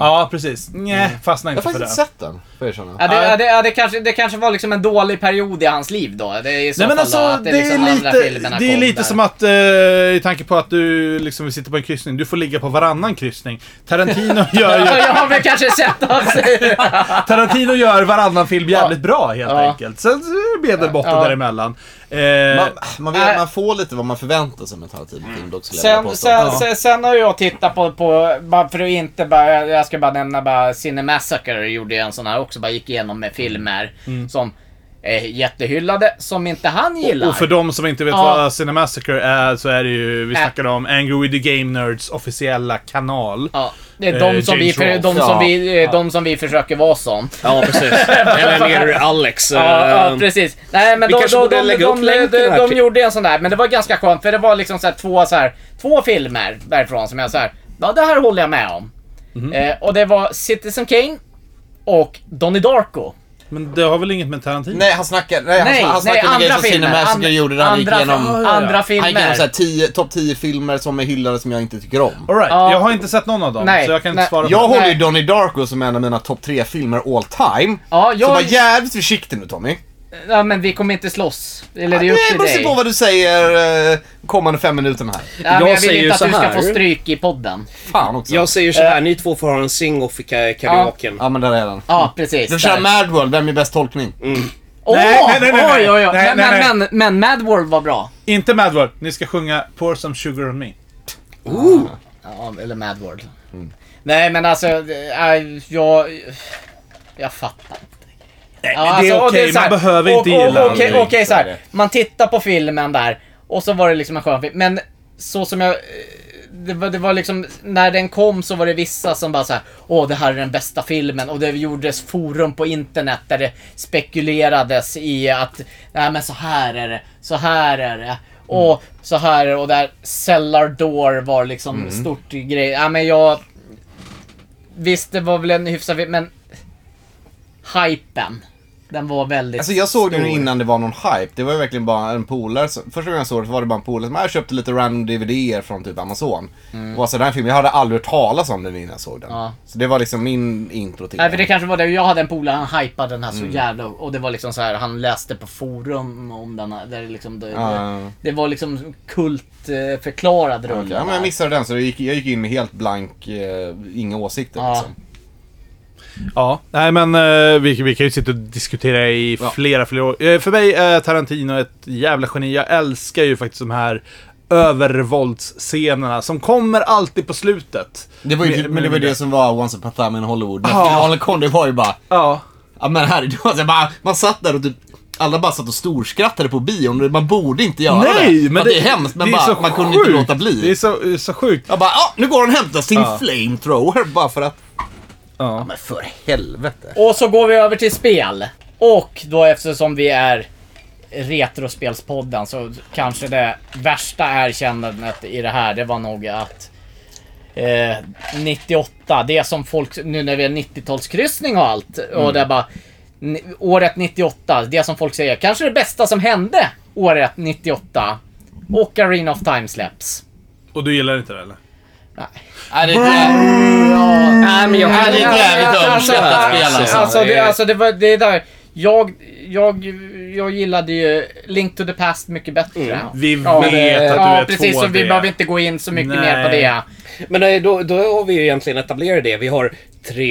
Speaker 2: Ja, precis. Nej, fastnade
Speaker 3: Jag har
Speaker 2: inte för
Speaker 3: faktiskt
Speaker 2: det.
Speaker 3: inte sett den, får jag erkänna.
Speaker 1: Ja, det, ja, det, ja, det, kanske, det kanske var liksom en dålig period i hans liv då. Det är i så
Speaker 2: Nej
Speaker 1: fall
Speaker 2: men
Speaker 1: då
Speaker 2: alltså,
Speaker 1: att
Speaker 2: det,
Speaker 1: liksom
Speaker 2: är
Speaker 1: andra
Speaker 2: lite,
Speaker 1: filmerna
Speaker 2: det är
Speaker 1: kom
Speaker 2: lite
Speaker 1: där.
Speaker 2: som att, eh, i tanke på att du liksom vi sitter på en kryssning, du får ligga på varannan kryssning. Tarantino gör
Speaker 1: Ja,
Speaker 2: ju,
Speaker 1: jag har väl kanske sett hans...
Speaker 2: Tarantino gör varannan film jävligt bra helt
Speaker 1: Ja.
Speaker 2: enkelt. Sen så är det medelbotten
Speaker 1: Ja.
Speaker 2: däremellan. Eh,
Speaker 3: Man, man, vet,
Speaker 1: äh.
Speaker 3: man får lite vad man förväntar sig med Tarantino-film dock skulle jag vilja
Speaker 1: Sen,
Speaker 3: påstå.
Speaker 1: sen, sen, sen har jag tittat på, på bara för att inte bara, jag ska bara nämna bara Cinemassacre gjorde jag en sån här också, bara gick igenom med filmer
Speaker 5: Mm.
Speaker 1: som är jättehyllade, som inte han gillar.
Speaker 2: och för de som inte vet
Speaker 1: Ja.
Speaker 2: vad Cinemassacre är så är det ju, vi
Speaker 1: Äh.
Speaker 2: snackar om Angry With The Game Nerds officiella kanal.
Speaker 1: Ja, det är
Speaker 2: Eh,
Speaker 1: de som, vi,
Speaker 2: James
Speaker 1: för,
Speaker 2: Rolfe.
Speaker 1: de, som
Speaker 3: Ja.
Speaker 1: vi, eh, de som vi försöker vara som.
Speaker 5: Ja, precis. Eller ner ur Alex.
Speaker 1: Ja, ja,
Speaker 5: eh,
Speaker 1: precis. Nej, men
Speaker 5: vi
Speaker 1: de,
Speaker 5: kanske
Speaker 1: de,
Speaker 5: borde
Speaker 1: de,
Speaker 5: lägga upp
Speaker 1: de, de,
Speaker 5: länken
Speaker 1: de,
Speaker 5: här till-
Speaker 1: gjorde en sån där, men det var ganska skönt för det var liksom så här två, så här, två filmer därifrån som jag så här, ja det här håller jag med om.
Speaker 5: Mhm.
Speaker 1: Eh, och det var Citizen Kane och Donnie Darko.
Speaker 2: Men det har väl inget med Tarantino?
Speaker 3: Nej, han snackade, nej,
Speaker 1: Nej,
Speaker 3: han, han
Speaker 1: nej,
Speaker 3: snackade
Speaker 1: andra
Speaker 3: om Gays of
Speaker 1: filmer.
Speaker 3: Cinemassacre
Speaker 1: Andra-
Speaker 3: gjorde det. Han gick
Speaker 1: andra
Speaker 3: igenom,
Speaker 1: filmer. Andra
Speaker 3: Han gick
Speaker 1: filmer.
Speaker 3: igenom så här tio, topp 10 filmer som är hyllade som jag inte tycker om.
Speaker 2: Alright,
Speaker 1: Ja.
Speaker 2: jag har inte sett någon av dem,
Speaker 1: Nej,
Speaker 2: så jag kan inte
Speaker 1: nej.
Speaker 2: svara på
Speaker 3: Jag
Speaker 2: det.
Speaker 3: håller ju
Speaker 1: Nej.
Speaker 3: Donnie Darko som en av mina topp 3 filmer all time.
Speaker 1: Ja,
Speaker 3: Så var
Speaker 1: jag...
Speaker 3: jävligt försiktig nu Tommy.
Speaker 1: Ja, men vi kommer inte slåss. Eller det är
Speaker 3: Nej,
Speaker 1: upp
Speaker 3: det
Speaker 1: till
Speaker 3: beror
Speaker 1: dig.
Speaker 3: på vad du säger eh, kommande fem minuterna här.
Speaker 1: Ja, men
Speaker 5: Jag
Speaker 1: jag, vill
Speaker 5: säger ju
Speaker 1: inte att
Speaker 5: så
Speaker 1: du ska
Speaker 5: här.
Speaker 1: få stryk i podden.
Speaker 3: Fan också.
Speaker 5: Jag säger så här, ni två får ha en sing-off i ka- karaoken.
Speaker 3: Ja men där är den.
Speaker 1: Eh. Ja, precis.
Speaker 3: Du kör
Speaker 1: där.
Speaker 3: Mad World, vem är bäst tolkning?
Speaker 1: Åh!
Speaker 2: Nej, nej, nej, nej, nej.
Speaker 1: Oj, oj, oj.
Speaker 2: Nej,
Speaker 1: Men,
Speaker 2: nej,
Speaker 1: men, men, men Mad World var bra.
Speaker 2: Inte Mad World. Ni ska sjunga Pour Some Sugar On Me.
Speaker 1: Ja, eller Mad World. Nej, men alltså, jag... Jag, jag fattar.
Speaker 2: Nej,
Speaker 1: Ja,
Speaker 2: men det är
Speaker 1: alltså, och
Speaker 2: okej.
Speaker 1: så här,
Speaker 2: Man behöver inte
Speaker 1: och, och,
Speaker 2: gilla
Speaker 1: Okej,
Speaker 2: allting.
Speaker 1: okej, så
Speaker 3: Så
Speaker 1: här.
Speaker 3: är det.
Speaker 1: Man tittar på filmen där och så var det liksom en skön film. Men så som jag... eh, Det var, det var liksom, när den kom så var det vissa som bara så här, Åh, det här är den bästa filmen. Och det gjordes forum på internet där det spekulerades i att, nej men så här är det, så här är det.
Speaker 2: Mm.
Speaker 1: Och så här är det. Och där Cellar Door var liksom
Speaker 2: Mm.
Speaker 1: stort grej. Ja, men jag... Visst, det var väl en hyfsad film, men... Hypen. Den var väldigt
Speaker 3: Alltså jag såg den
Speaker 1: stor.
Speaker 3: innan det var någon hype. Det var ju verkligen bara en polare. som- Första gången jag såg det så var det bara en polare som "Ah, jag köpte lite random dvd från typ Amazon. Och alltså den här filmen, jag hade aldrig hört talas om den innan jag såg den.
Speaker 1: Ja.
Speaker 3: Så det var liksom min intro till
Speaker 1: Nej, för det
Speaker 3: den.
Speaker 1: kanske var det. Jag hade en polare, han hypade den här
Speaker 3: Mm.
Speaker 1: så jävla... Och det var liksom så här, han läste på forum om den här, där det liksom... Det,
Speaker 3: Ja.
Speaker 1: det, det var liksom kult eh, förklarad runt
Speaker 3: Ah. Ja, men jag missade den så jag gick, jag gick in med helt blank, eh, inga åsikter
Speaker 1: Ja.
Speaker 3: liksom.
Speaker 2: Ja, nej men eh, vi, vi kan ju sitta och diskutera i
Speaker 3: Ja.
Speaker 2: flera, flera år. Eh, för mig är Tarantino ett jävla geni. Jag älskar ju faktiskt de här övervåldsscenerna som kommer alltid på slutet.
Speaker 3: Det var ju, typ-
Speaker 2: Mer-
Speaker 3: men det var ju
Speaker 2: mer-
Speaker 3: det som var Once upon a time in Hollywood. När
Speaker 2: Ja.
Speaker 3: finalen kom, det var ju bara
Speaker 2: Ja.
Speaker 3: Ja men här, det var så här, bara, man satt där och typ alla bara satt och storskrattade på bion. Man borde inte göra
Speaker 2: Nej,
Speaker 3: det.
Speaker 2: men
Speaker 3: För att det är hemskt, men
Speaker 2: det är
Speaker 3: bara,
Speaker 2: så
Speaker 3: man kunde inte
Speaker 2: sjukt.
Speaker 3: låta bli.
Speaker 2: Det är så, så sjukt.
Speaker 3: Jag bara, ah, nu går han och hämtar sin
Speaker 2: Ja.
Speaker 3: flamethrower bara för att...
Speaker 2: Ja.
Speaker 3: Men för helvete.
Speaker 1: Och så går vi över till spel. Och då eftersom vi är Retrospelspodden så kanske det värsta erkännandet i det här, det var nog att eh, 98, det som folk, nu när vi är 90-talskryssning och allt, och det är bara ni- Året 98, det som folk säger, kanske det bästa som hände året 98. Och Arena of Time släpps.
Speaker 2: Och du gillar inte det eller?
Speaker 3: Nej, det är
Speaker 1: Nej, men jag
Speaker 3: Ja, det är jävligt överskattat spel, alltså.
Speaker 1: Alltså, det, alltså, det var det där. Jag, jag, jag gillade ju Link to the Past mycket bättre.
Speaker 2: Mm. Vi vet
Speaker 1: det-
Speaker 2: att du
Speaker 1: ja,
Speaker 2: är
Speaker 1: precis.
Speaker 2: 2D.
Speaker 1: Så vi behöver inte gå in så mycket
Speaker 2: Nej.
Speaker 1: mer på det.
Speaker 5: Men eh, då, då har vi ju egentligen etablerat det. Vi har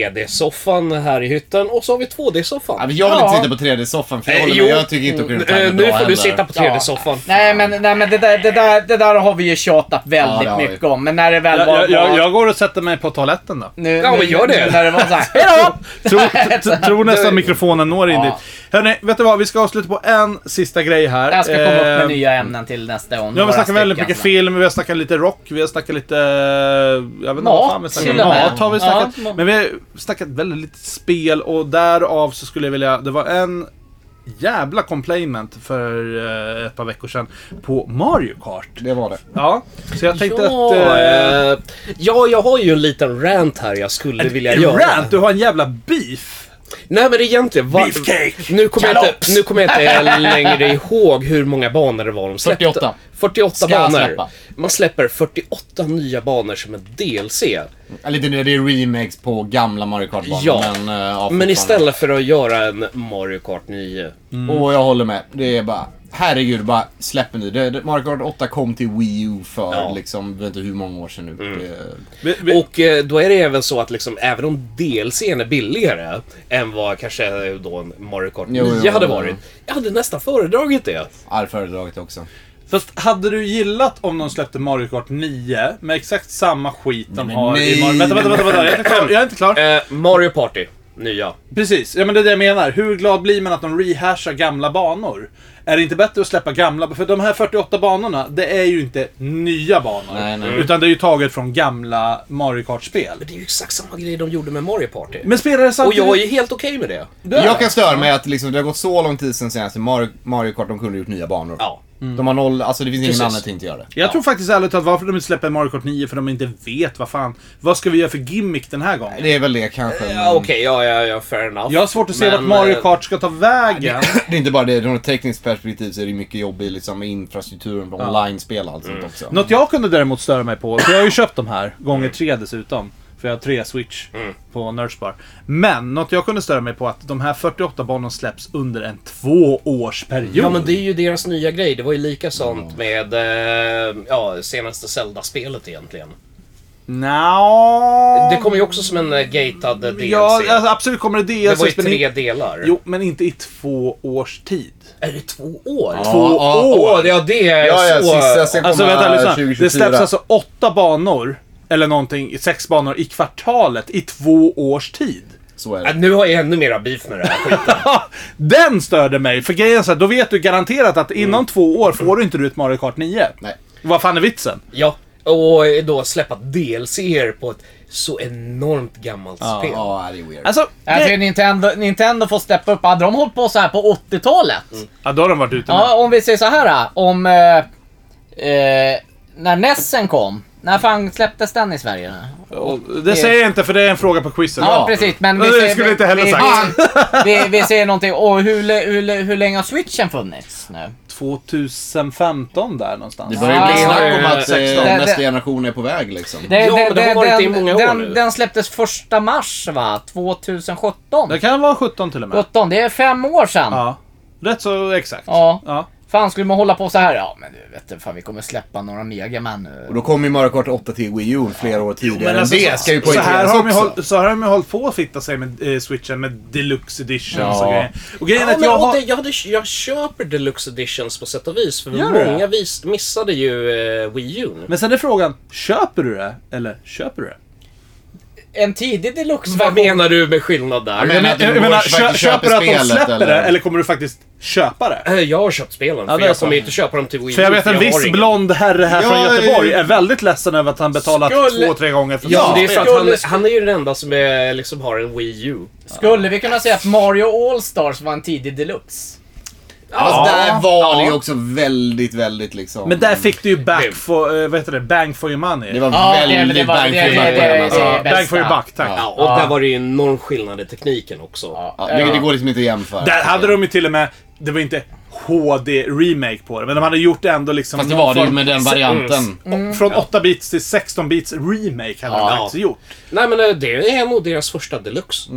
Speaker 5: 3D-soffan här i hytten och så har vi 2D-soffan.
Speaker 3: ja, men jag vill inte
Speaker 1: Ja.
Speaker 3: sitta på 3D-soffan för jag
Speaker 5: Eh,
Speaker 3: håller
Speaker 5: jo.
Speaker 3: med. Jag tycker inte Ocarina of Time är
Speaker 5: Eh,
Speaker 3: bra
Speaker 5: nu får
Speaker 3: heller.
Speaker 5: du sitta på 3D-soffan.
Speaker 1: Nej men, nej, men det, där, det, där, det där har vi ju tjatat
Speaker 3: Ja,
Speaker 1: väldigt
Speaker 3: det har vi.
Speaker 1: mycket om. Men när det väl
Speaker 2: Jag,
Speaker 1: var...
Speaker 2: jag, jag,
Speaker 1: var-
Speaker 2: jag går och sätter mig på toaletten då.
Speaker 1: Nu,
Speaker 5: Ja,
Speaker 1: nu-
Speaker 5: men gör det.
Speaker 1: nu När det var så här, hejdå!
Speaker 2: Tror tro, tror nästan mikrofonen når in
Speaker 1: Ja.
Speaker 2: dit. Hörni, vet du vad? Vi ska avsluta på en sista grej här.
Speaker 1: Jag ska komma upp
Speaker 2: Eh,
Speaker 1: med nya ämnen till nästa gång.
Speaker 2: Nu har vi
Speaker 1: några
Speaker 2: snackat väldigt
Speaker 1: stycken.
Speaker 2: mycket film, vi har snackat lite rock, vi har snackat lite... Jag vet inte vad
Speaker 1: Mat,
Speaker 2: fan vi
Speaker 1: till och
Speaker 2: snackade
Speaker 1: med.
Speaker 2: om. Mat har vi
Speaker 1: Ja,
Speaker 2: snackat.
Speaker 1: mat.
Speaker 2: Men vi har snackat väldigt lite spel och därav så skulle jag vilja... Det var en jävla complainment för eh, ett par veckor sedan på Mario Kart.
Speaker 3: Det var det.
Speaker 2: Ja, så jag tänkte
Speaker 5: ja,
Speaker 2: att... Eh,
Speaker 5: eh, ja, jag har ju en liten rant här jag skulle vilja göra.
Speaker 2: Rant, du har en jävla beef!
Speaker 5: Nej men egentligen, va,
Speaker 2: Beefcake!
Speaker 5: nu kommer jag
Speaker 2: Kalops!
Speaker 5: inte, nu kommer jag inte längre ihåg hur många banor det var de släppte.
Speaker 3: 48.
Speaker 5: 48
Speaker 3: Ska jag
Speaker 5: banor.
Speaker 3: släppa?
Speaker 5: Man släpper 48 nya banor som en DLC.
Speaker 3: Ja, lite nu, det är remakes på gamla Mario Kart-banor.
Speaker 5: Ja.
Speaker 3: Men, eh, ja,
Speaker 5: Men
Speaker 3: fortfarande. Mm.
Speaker 5: istället för att göra en Mario Kart 9.
Speaker 3: Och jag håller med. Det är bara, herregud, bara släpp nu. Det, det, Mario Kart 8 kom till Wii U för
Speaker 5: Ja. Mm.
Speaker 3: liksom, jag vet inte hur många år sedan nu. Det-
Speaker 2: Vi, vi,
Speaker 5: Och eh, då är det även så att liksom, även om DLCn är billigare än vad kanske eh, då en Mario Kart 9
Speaker 3: Jo, jo,
Speaker 5: hade
Speaker 3: jo.
Speaker 5: varit. Jag hade nästan föredragit det.
Speaker 3: Ja, det föredraget också.
Speaker 2: Fast hade du gillat om de släppte Mario Kart 9 med exakt samma skit de
Speaker 3: men
Speaker 2: har
Speaker 3: nej,
Speaker 2: i Mario... Vänta, vänta, vänta, vänta. Jag är inte klar. Jag är inte klar.
Speaker 5: Eh, Mario Party, nya.
Speaker 2: Precis, ja men det är det jag menar. Hur glad blir man att de rehashar gamla banor? Är det inte bättre att släppa gamla? För de här 48 banorna, det är ju inte nya banor.
Speaker 7: Nej, nej.
Speaker 2: Utan det är ju taget från gamla Mario Kart-spel.
Speaker 5: Men det är ju exakt samma grej de gjorde med Mario Party.
Speaker 2: Men spelare
Speaker 5: och
Speaker 2: samtidigt...
Speaker 5: jag är ju helt okej med det.
Speaker 2: Du är-
Speaker 3: Jag kan störa mig att liksom, det har gått så lång tid sedan senaste Mario, Mario Kart de kunde gjort nya banor.
Speaker 5: Ja.
Speaker 3: De har noll, alltså det finns ingen
Speaker 5: Precis.
Speaker 3: anledning till att inte göra det.
Speaker 2: Jag tror faktiskt ärligt talat varför de inte släpper Mario Kart 9 för de inte vet vad fan. Vad ska vi göra för gimmick den här gången?
Speaker 3: Det är väl det kanske.
Speaker 5: Ja,
Speaker 3: men-
Speaker 5: Eh, okej, ja, ja, ja, fair enough.
Speaker 2: Jag har svårt att se
Speaker 5: Men,
Speaker 2: vart Mario
Speaker 5: eh,
Speaker 2: Kart ska ta vägen.
Speaker 3: Det är inte bara det, från ett tekniskt perspektiv så är det mycket jobb i liksom, infrastrukturen, för online-spel och allt sånt också.
Speaker 2: Något jag kunde däremot störa mig på, för jag har ju Mm. köpt de här, gånger tre dessutom. För jag har tre Switch på Nerdspar. Men något jag kunde störa mig på att de här 48 banorna släpps under en tvåårsperiod.
Speaker 5: Ja men det är ju deras nya grej. Det var ju lika sånt med eh, ja, senaste Zelda-spelet egentligen.
Speaker 2: Nja...
Speaker 5: Det kommer ju också som en eh, gatad eh, DLC.
Speaker 2: Ja, alltså, absolut kommer det
Speaker 5: det var ju
Speaker 2: DLC. men
Speaker 5: tre
Speaker 2: inte-
Speaker 5: delar.
Speaker 2: Jo, men inte i två års tid.
Speaker 5: Är det två år?
Speaker 2: Två
Speaker 3: ja,
Speaker 2: år!
Speaker 5: Åh, det- ja det är
Speaker 3: Ja, ja,
Speaker 5: så...
Speaker 3: sista sen
Speaker 2: Alltså
Speaker 3: kommer
Speaker 2: vänta, lyssna.
Speaker 3: 2024.
Speaker 2: Det släpps alltså åtta banor, eller någonting, sex banor i kvartalet i två års tid.
Speaker 3: Så är
Speaker 5: Ja,
Speaker 3: det.
Speaker 5: Äh, nu har jag ännu mera beef med det här skiten.
Speaker 2: Den störde mig! För grejen är så här, då vet du garanterat att inom två år får du inte ut Mario Kart 9.
Speaker 3: Mm. Nej.
Speaker 2: Vad fan är vitsen?
Speaker 5: ja, och då släppa DLC-er på ett så enormt gammalt spel.
Speaker 3: Ja, det är weird.
Speaker 2: Alltså,
Speaker 1: Alltså,
Speaker 2: det...
Speaker 1: Nintendo, Nintendo får steppa upp. Hade de hållit på så här på
Speaker 3: Mm.
Speaker 1: 80-talet?
Speaker 2: Ja, då har de varit ute med.
Speaker 1: Ja, om vi säger så här. äh, Om... Eh, eh, när Nessen kom. När fan släpptes den i Sverige? då?
Speaker 2: Och Det säger jag inte för det är en fråga på quizen.
Speaker 1: Ja, precis. Men vi
Speaker 2: Det
Speaker 1: säger-
Speaker 2: skulle jag inte heller
Speaker 1: vi,
Speaker 2: sagt.
Speaker 1: Vi, vi, vi säger någonting. Och hur, le- hur, le- hur länge har switchen funnits nu?
Speaker 2: 2015 där någonstans.
Speaker 3: Det börjar
Speaker 1: Ah,
Speaker 3: ju bli snack om att eh,
Speaker 2: 16.
Speaker 1: Det- det-
Speaker 3: nästa generation är på väg liksom.
Speaker 1: Det,
Speaker 5: Ja, men det har varit i många år
Speaker 1: den,
Speaker 5: nu.
Speaker 1: den släpptes första mars, va? 2017?
Speaker 2: Det kan vara 17 till och med.
Speaker 1: 17, det är fem år sedan. Ja.
Speaker 2: Ja. Rätt så exakt. Ja.
Speaker 1: Fan, skulle man hålla på så här? Ja, men du vet du, fan vi kommer släppa några megaman nu.
Speaker 3: Och då kommer ju Mario Kart 8 till Wii U flera år tidigare.
Speaker 2: Men
Speaker 3: Men
Speaker 2: alltså,
Speaker 3: det ska ju
Speaker 2: så, här
Speaker 3: poängteras
Speaker 2: har de ju
Speaker 3: också.
Speaker 2: håll, så här har de ju hållit på att fitta sig med eh, switchen med deluxe editions och
Speaker 3: Ja.
Speaker 2: grejer. Och grejen är
Speaker 5: Ja,
Speaker 2: att
Speaker 5: men,
Speaker 2: jag
Speaker 5: och
Speaker 2: har...
Speaker 5: det, jag, hade, jag köper deluxe editions på sätt och vis. För
Speaker 2: Gör du det?
Speaker 5: många vis, missade ju eh, Wii U.
Speaker 2: Men sen är frågan, köper du det? Eller köper du det?
Speaker 1: En tidig
Speaker 5: Vad
Speaker 1: deluxe-version.
Speaker 5: menar du med skillnad där?
Speaker 3: Ja, men- att det
Speaker 2: jag
Speaker 3: går
Speaker 2: menar,
Speaker 3: faktiskt
Speaker 2: kö,
Speaker 3: att köpa
Speaker 2: köper du att de
Speaker 3: spelet,
Speaker 2: släpper det
Speaker 3: eller?
Speaker 2: eller kommer du faktiskt köpa det?
Speaker 5: Eh, Jag har köpt spelen,
Speaker 2: det
Speaker 5: för
Speaker 2: är
Speaker 5: jag
Speaker 2: så.
Speaker 5: kommer ju inte köpa dem till Wii U.
Speaker 2: För jag vet en
Speaker 5: har
Speaker 2: viss
Speaker 5: ingen.
Speaker 2: blond herre här från
Speaker 3: Ja,
Speaker 2: Göteborg
Speaker 3: eh,
Speaker 2: är väldigt ledsen över att han betalat
Speaker 1: Skulle-
Speaker 2: två, tre gånger för
Speaker 5: Ja,
Speaker 2: samma
Speaker 5: men det är för
Speaker 2: spel.
Speaker 5: att han, han är ju den enda som är, liksom har en Wii U.
Speaker 1: Skulle vi kunna säga att Mario All-Stars var en tidig deluxe?
Speaker 3: Fast Alltså, där var det ju
Speaker 5: Ja.
Speaker 3: också väldigt, väldigt liksom...
Speaker 2: Men där fick du ju back
Speaker 5: Det-
Speaker 2: for, eh, vad heter det, bang for your money.
Speaker 3: Det var
Speaker 1: Ja, det-
Speaker 3: väldigt
Speaker 1: det var-
Speaker 3: bang
Speaker 1: det-
Speaker 3: for
Speaker 1: det- det-
Speaker 3: buck, alltså.
Speaker 1: det-
Speaker 2: Ja, bang
Speaker 1: bästa.
Speaker 2: for your buck, tack.
Speaker 5: Ja, och där var det ju en enorm skillnad i tekniken också.
Speaker 3: Ja, det, det går liksom inte att jämföra.
Speaker 2: Där hade de ju till och med, det var inte HD-remake på det, men de hade gjort ändå liksom...
Speaker 3: Fast det
Speaker 2: någon
Speaker 3: var det ju
Speaker 2: form-
Speaker 3: med den varianten.
Speaker 2: Och Från 8 bits till 16 bits remake hade de
Speaker 5: Ja.
Speaker 2: faktiskt gjort.
Speaker 5: Nej men eh, det är nog deras första deluxe.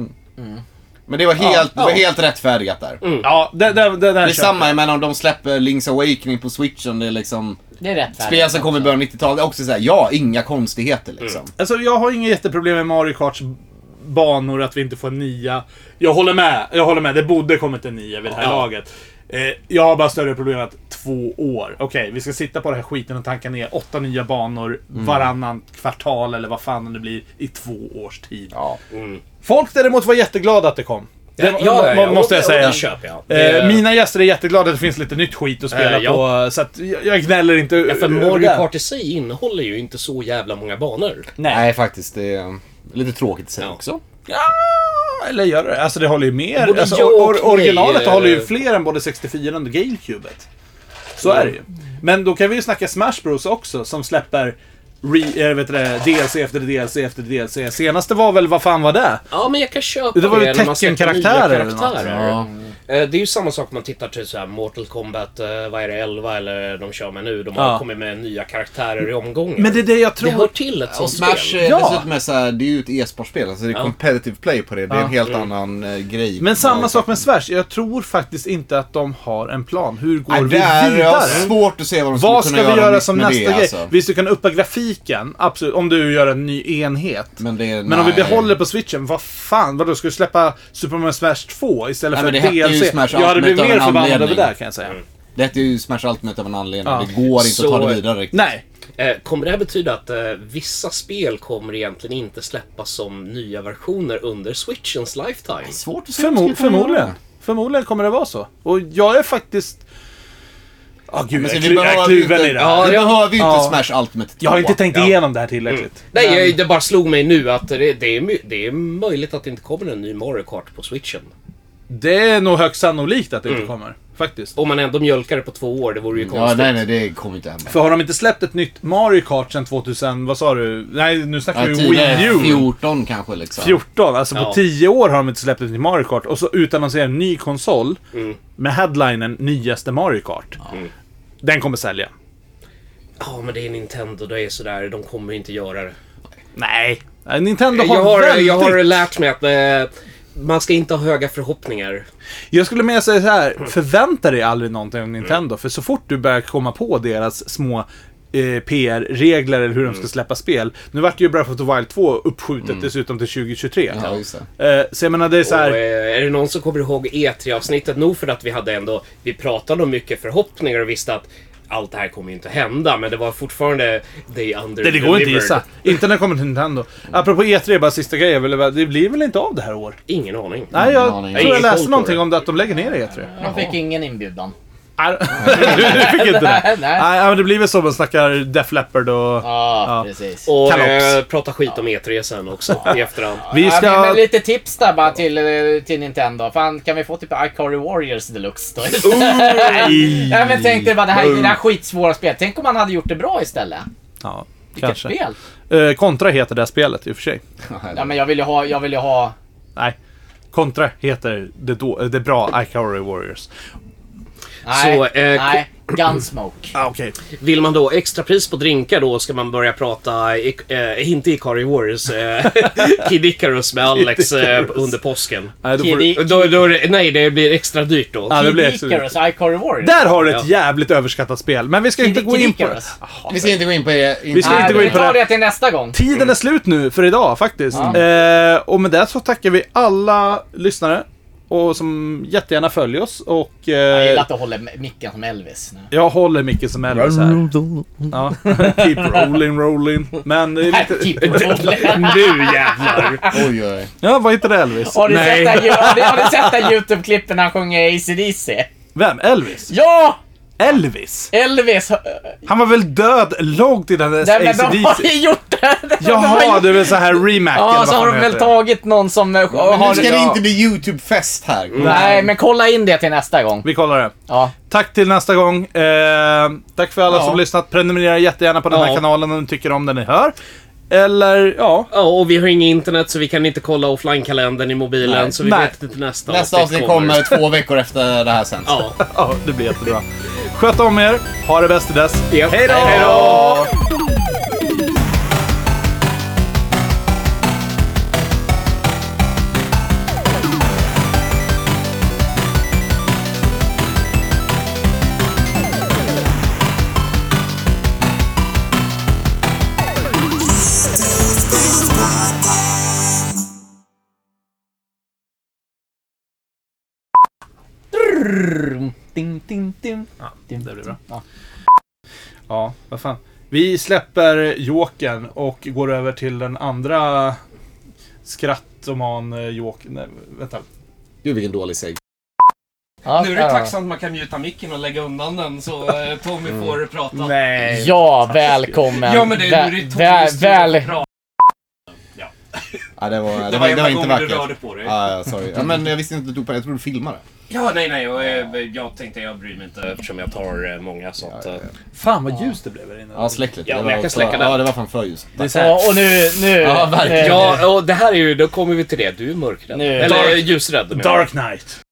Speaker 3: Men det var helt, det var helt rättfärdigat där.
Speaker 2: Ja, det, det, det, det
Speaker 3: Det är samma, jag menar om de släpper Link's Awakening på switchen, det är liksom...
Speaker 1: Det är rätt
Speaker 3: Spel som kom i början av 90-talet, det är också såhär, ja, inga konstigheter liksom.
Speaker 2: Alltså jag har inga jätteproblem med Mario Karts banor, att vi inte får en nia. Jag håller med, jag håller med. Det borde kommit en nia vid det här laget. Eh, jag har bara större problem med att två år. Okej, vi ska sitta på den här skiten och tanka ner åtta nya banor
Speaker 5: Mm.
Speaker 2: varannan kvartal eller vad fan det blir i två års tid.
Speaker 3: Ja.
Speaker 2: Folk däremot var jätteglada att det kom. Det,
Speaker 5: Ja, ja,
Speaker 2: må-
Speaker 5: ja,
Speaker 2: måste
Speaker 5: och
Speaker 2: jag
Speaker 5: det- och
Speaker 2: säga.
Speaker 5: det köper jag.
Speaker 2: Eh,
Speaker 5: Det-
Speaker 2: mina gäster är jätteglada att det finns lite nytt skit att spela
Speaker 5: Eh, ja.
Speaker 2: på. Så att jag, jag gnäller inte.
Speaker 5: Ja, för
Speaker 2: över
Speaker 5: Mario
Speaker 2: det.
Speaker 5: Kart i sig innehåller ju inte så jävla många banor.
Speaker 2: Nej.
Speaker 3: Nej, faktiskt. Det är lite tråkigt att säga
Speaker 5: Ja.
Speaker 3: också.
Speaker 2: Ja, eller gör det? Alltså det håller ju mer.
Speaker 5: Både
Speaker 2: Alltså,
Speaker 5: ja
Speaker 2: or-
Speaker 5: och
Speaker 2: or- originalet
Speaker 5: nej,
Speaker 2: håller ju
Speaker 3: eh,
Speaker 5: eller-
Speaker 2: fler än både 64 och GameCubet. Så är det ju. Men då kan vi ju snacka Smash Bros också som släpper re, eh, vet du det, DLC efter DLC efter DLC. Senaste var väl, vad fan var det?
Speaker 5: Ja, men jag kan köpa
Speaker 2: Det var väl
Speaker 5: när man släpper
Speaker 2: teckenkaraktärer
Speaker 5: nya
Speaker 2: eller något.
Speaker 5: karaktärer. Eh, Det är ju samma sak om man tittar till så här Mortal Kombat, eh, vad är det, 11 eller de kör med nu. De har
Speaker 2: Ja.
Speaker 5: kommit med nya karaktärer i omgången.
Speaker 2: Men det är det jag tror.
Speaker 5: Det hör till ett
Speaker 3: Och
Speaker 5: sånt
Speaker 3: Smash eh,
Speaker 5: spel.
Speaker 3: är
Speaker 2: Ja.
Speaker 3: dessutom är så här, det är ju ett e-sportspel, alltså det är
Speaker 5: Ja.
Speaker 3: competitive play på det. Det är
Speaker 2: Ja.
Speaker 3: en helt annan eh, grej.
Speaker 2: Men samma sak med Smash. Jag tror faktiskt inte att de har en plan. Hur går
Speaker 3: Nej,
Speaker 2: vi
Speaker 3: där är
Speaker 2: vidare?
Speaker 3: jag svårt att se vad de
Speaker 2: Vad
Speaker 3: skulle
Speaker 2: ska
Speaker 3: kunna
Speaker 2: vi
Speaker 3: göra
Speaker 2: göra
Speaker 3: nytt
Speaker 2: som
Speaker 3: med
Speaker 2: nästa
Speaker 3: det,
Speaker 2: grej?
Speaker 3: alltså.
Speaker 2: Visst, du kan uppa grafiken. Absolut. Om du gör en ny enhet.
Speaker 3: Men, det, är-
Speaker 2: Men om vi
Speaker 3: nej.
Speaker 2: behåller på switchen, vad fan, vadå, ska du släppa Super Mario Smash 2 istället
Speaker 3: Nej,
Speaker 2: för
Speaker 3: men det hette ju
Speaker 2: DLC?
Speaker 3: Smash
Speaker 2: jag hade
Speaker 3: Ultimate
Speaker 2: blivit
Speaker 3: av
Speaker 2: mer
Speaker 3: en
Speaker 2: förbannad över
Speaker 3: anledning.
Speaker 2: det där kan jag säga.
Speaker 3: Det heter ju Smash Ultimate av en anledning.
Speaker 2: Ja.
Speaker 3: Det går inte
Speaker 5: Så-
Speaker 3: att ta det vidare riktigt.
Speaker 2: Nej.
Speaker 5: Eh, Kommer det här betyda att eh, vissa spel kommer egentligen inte släppas som nya versioner under Switchens lifetime?
Speaker 3: Svårt att se vad de
Speaker 2: Förmo
Speaker 3: skulle kunna
Speaker 2: förmodligen.
Speaker 3: göra.
Speaker 2: Förmodligen kommer det vara så. Och jag är faktiskt... Ah, gud,
Speaker 4: Men
Speaker 2: jag
Speaker 4: så
Speaker 2: är
Speaker 4: vi
Speaker 2: klu- jag är
Speaker 4: behöver ju
Speaker 2: kluven i
Speaker 4: inte,
Speaker 2: det här.
Speaker 5: Ja,
Speaker 4: vi
Speaker 5: jag-
Speaker 4: behöver ju
Speaker 2: ja.
Speaker 4: inte Smash Ultimate 2.
Speaker 2: Jag har inte tänkt igenom det här tillräckligt.
Speaker 5: Nej, jag, det bara slog mig nu att det, det, är, my- det är möjligt att det inte kommer en ny Mario Kart på switchen.
Speaker 2: Det är nog högst sannolikt att det inte kommer. Faktiskt.
Speaker 5: Om man ändå mjölkar det på två år, det vore ju
Speaker 4: Ja,
Speaker 5: konstigt.
Speaker 4: nej, nej, det kommer inte hända.
Speaker 2: För har de inte släppt ett nytt Mario Kart sedan 2000, vad sa du? Nej, nu snackar
Speaker 4: Ja,
Speaker 2: vi
Speaker 4: tidigare
Speaker 2: Wii U.
Speaker 4: 14 kanske liksom.
Speaker 2: 14, alltså på
Speaker 5: Ja.
Speaker 2: 10 år har de inte släppt ett nytt Mario Kart. Och så utannonserar en ny konsol
Speaker 5: Mm.
Speaker 2: med headlinen “Nyaste Mario Kart”.
Speaker 4: Mm.
Speaker 2: Den kommer sälja.
Speaker 5: Ja, men det är Nintendo, det är sådär, de kommer inte göra det.
Speaker 2: Nej. Eh, Nintendo
Speaker 5: Jag
Speaker 2: har,
Speaker 5: har,
Speaker 2: väldigt...
Speaker 5: jag har lärt mig att eh, man ska inte ha höga förhoppningar.
Speaker 2: Jag skulle mer säga så här, förvänta dig aldrig någonting av Nintendo. För så fort du börjar komma på deras små eh, PR-regler eller
Speaker 4: Mm.
Speaker 2: hur de ska släppa spel. Nu vart ju Breath of the Wild 2 uppskjutet dessutom till 2023.
Speaker 4: Ja, just det.
Speaker 2: Eh, så jag menar, det är så här...
Speaker 5: Och, eh, är det någon som kommer ihåg E3-avsnittet? Nog för att vi hade ändå, vi pratade om mycket förhoppningar och visste att allt det här kommer ju inte hända, men det var fortfarande they under
Speaker 2: Nej, det går inte att gissa. Inte när det kommer till Nintendo. Apropå E3, bara sista grejen. jag ville bara- Det blir väl inte av det här år?
Speaker 5: Ingen aning.
Speaker 2: Nej,
Speaker 4: Ingen
Speaker 2: jag
Speaker 4: aning.
Speaker 2: tror jag
Speaker 5: Ingen koll
Speaker 2: läste
Speaker 5: på
Speaker 2: någonting
Speaker 5: det.
Speaker 2: om det, att de lägger ner E3.
Speaker 1: De fick ingen inbjudan.
Speaker 2: Nej, du fick inte det.
Speaker 1: Nej, nej.
Speaker 2: Nej, men det blir väl så man snackar Def Leppard och...
Speaker 1: Ja,
Speaker 2: Ja.
Speaker 1: precis.
Speaker 5: Och
Speaker 2: Kalops.
Speaker 5: eh, prata skit om E3 sen också i efterhand.
Speaker 2: Vi
Speaker 1: Ja, men, men
Speaker 2: ska...
Speaker 1: lite tips där bara till, eh, till Nintendo. Fan, kan vi få typ Ikari Warriors Deluxe då?
Speaker 2: Nej.
Speaker 1: Nej men tänk dig bara, det här, det här är skitsvåra spel. Tänk om man hade gjort det bra istället.
Speaker 2: Ja,
Speaker 1: Vilket
Speaker 2: kanske.
Speaker 1: spel.
Speaker 2: Eh, Kontra heter det här spelet i och för sig.
Speaker 1: Ja men jag vill ju ha, jag vill ju ha...
Speaker 2: Nej. Kontra heter det, då, det bra Ikari Warriors.
Speaker 1: Nej,
Speaker 5: Så, eh,
Speaker 1: nej. Gunsmoke.
Speaker 2: Ah, okej.
Speaker 5: Vill man då extrapris på drinkar då ska man börja prata, i, eh, inte i Kari Warriors, eh, Kid Icarus med Alex eh, under påsken.
Speaker 2: Nej, då får
Speaker 1: Kid
Speaker 2: du-
Speaker 1: E- I-
Speaker 5: Då, då, är det- nej, det blir extra dyrt då.
Speaker 2: Ja, det
Speaker 1: Kid
Speaker 2: blir
Speaker 1: Icarus,
Speaker 2: extra-
Speaker 1: Ikari Warriors.
Speaker 2: Där har du ett
Speaker 5: Ja.
Speaker 2: jävligt överskattat spel, men vi ska inte
Speaker 1: Kid- E-
Speaker 2: gå
Speaker 1: Kid
Speaker 2: in på det.
Speaker 1: Icarus.
Speaker 2: Jaha,
Speaker 4: Vi ska inte gå in på det.
Speaker 2: Vi ska
Speaker 1: Nej,
Speaker 2: inte gå in
Speaker 1: vi
Speaker 2: på
Speaker 1: tar
Speaker 2: det.
Speaker 1: det till nästa gång.
Speaker 2: Tiden är slut nu för idag faktiskt. Eh, och med det så tackar vi alla lyssnare och som jättegärna följer oss och... eh,
Speaker 1: Jag gillar att du håller m- micken som Elvis. Nu.
Speaker 2: jag håller mycket som Elvis här. Ja. Keep rolling, rolling. Men det är lite...
Speaker 1: Keep it rolling.
Speaker 5: Nu jävlar!
Speaker 4: Oj, oj, oj.
Speaker 2: Ja, vad heter det Elvis?
Speaker 1: Har du sett det här ju- har du- har du sett det här YouTube-klippet när han sjunger ACDC?
Speaker 2: Vem? Elvis?
Speaker 1: Ja!
Speaker 2: Elvis?
Speaker 1: Elvis! eh,
Speaker 2: Han var väl död långt innan dess
Speaker 1: Nej men de har
Speaker 2: ACDC?
Speaker 1: ju gjort det! De har
Speaker 2: Jaha,
Speaker 1: gjort-
Speaker 2: det är väl så här remake eller
Speaker 1: Ja,
Speaker 2: vad
Speaker 1: så
Speaker 2: fan
Speaker 1: har de
Speaker 2: det
Speaker 1: väl
Speaker 2: heter.
Speaker 1: tagit någon som... eh,
Speaker 4: Men
Speaker 1: har-
Speaker 4: nu ska det
Speaker 1: ja. Mm.
Speaker 4: inte bli YouTube-fest här.
Speaker 1: Nej, men kolla in det till nästa gång.
Speaker 2: Vi kollar det.
Speaker 1: Ja.
Speaker 2: Tack till nästa gång. Eh, tack för alla som lyssnat. Prenumerera jättegärna på den här
Speaker 5: Ja.
Speaker 2: kanalen om ni tycker om det ni hör. Eller ja,
Speaker 5: Ja, och vi har inget internet så vi kan inte kolla offline-kalendern i mobilen så vi
Speaker 2: Nej.
Speaker 5: vet inte nästa,
Speaker 4: Nästa avsnitt kommer två veckor efter det här sen.
Speaker 5: Ja.
Speaker 2: ja det blir jättebra. Sköt om er. Ha det bäst till dess.
Speaker 5: Japp.
Speaker 2: Hej
Speaker 5: Hej
Speaker 2: då!
Speaker 5: då!
Speaker 1: Ding, ding, ding.
Speaker 2: Det blir bra.
Speaker 1: Ja.
Speaker 2: Ja, vad fan. Vi släpper Jokern och går över till den andra skrattoman eh, Jokern. Nej, vänta.
Speaker 4: Gud, vilken dålig seg.
Speaker 1: Ja,
Speaker 5: Nu är
Speaker 1: ja.
Speaker 5: det tacksamt man kan mjuta micken och lägga undan den så eh, Tommy får prata.
Speaker 2: Nej.
Speaker 1: Ja, välkommen.
Speaker 5: Ja men det, nu är det
Speaker 1: Vä-
Speaker 5: Tommys tur
Speaker 1: väl,
Speaker 5: att prata.
Speaker 4: Ja, det var, det var,
Speaker 5: Det var
Speaker 4: det var
Speaker 5: enda
Speaker 4: inte
Speaker 5: gången du rörde
Speaker 4: vackert.
Speaker 5: på dig.
Speaker 4: Ja, ja, sorry. Ja, men jag visste inte att du tog på det. Jag trodde du filmade.
Speaker 5: Ja, nej, nej. Och, eh, jag tänkte jag bryr mig inte eftersom jag tar eh, många sånt. eh.
Speaker 2: Fan vad ljust det blev här inne.
Speaker 4: Ja, släck lite.
Speaker 5: Ja,
Speaker 4: Det
Speaker 5: men jag
Speaker 4: var
Speaker 5: kan släcka
Speaker 4: för-
Speaker 5: den.
Speaker 4: Ja, det var fan för ljust.
Speaker 2: Det är så här-
Speaker 1: Ja, och nu... nu
Speaker 4: Ja, verkligen.
Speaker 1: eh,
Speaker 5: Ja, och det här är ju, då kommer vi till det. Du är mörkrädd.
Speaker 1: Nu.
Speaker 5: Eller
Speaker 1: Dark-
Speaker 5: eh, ljusrädd. menar jag.
Speaker 2: Dark Knight.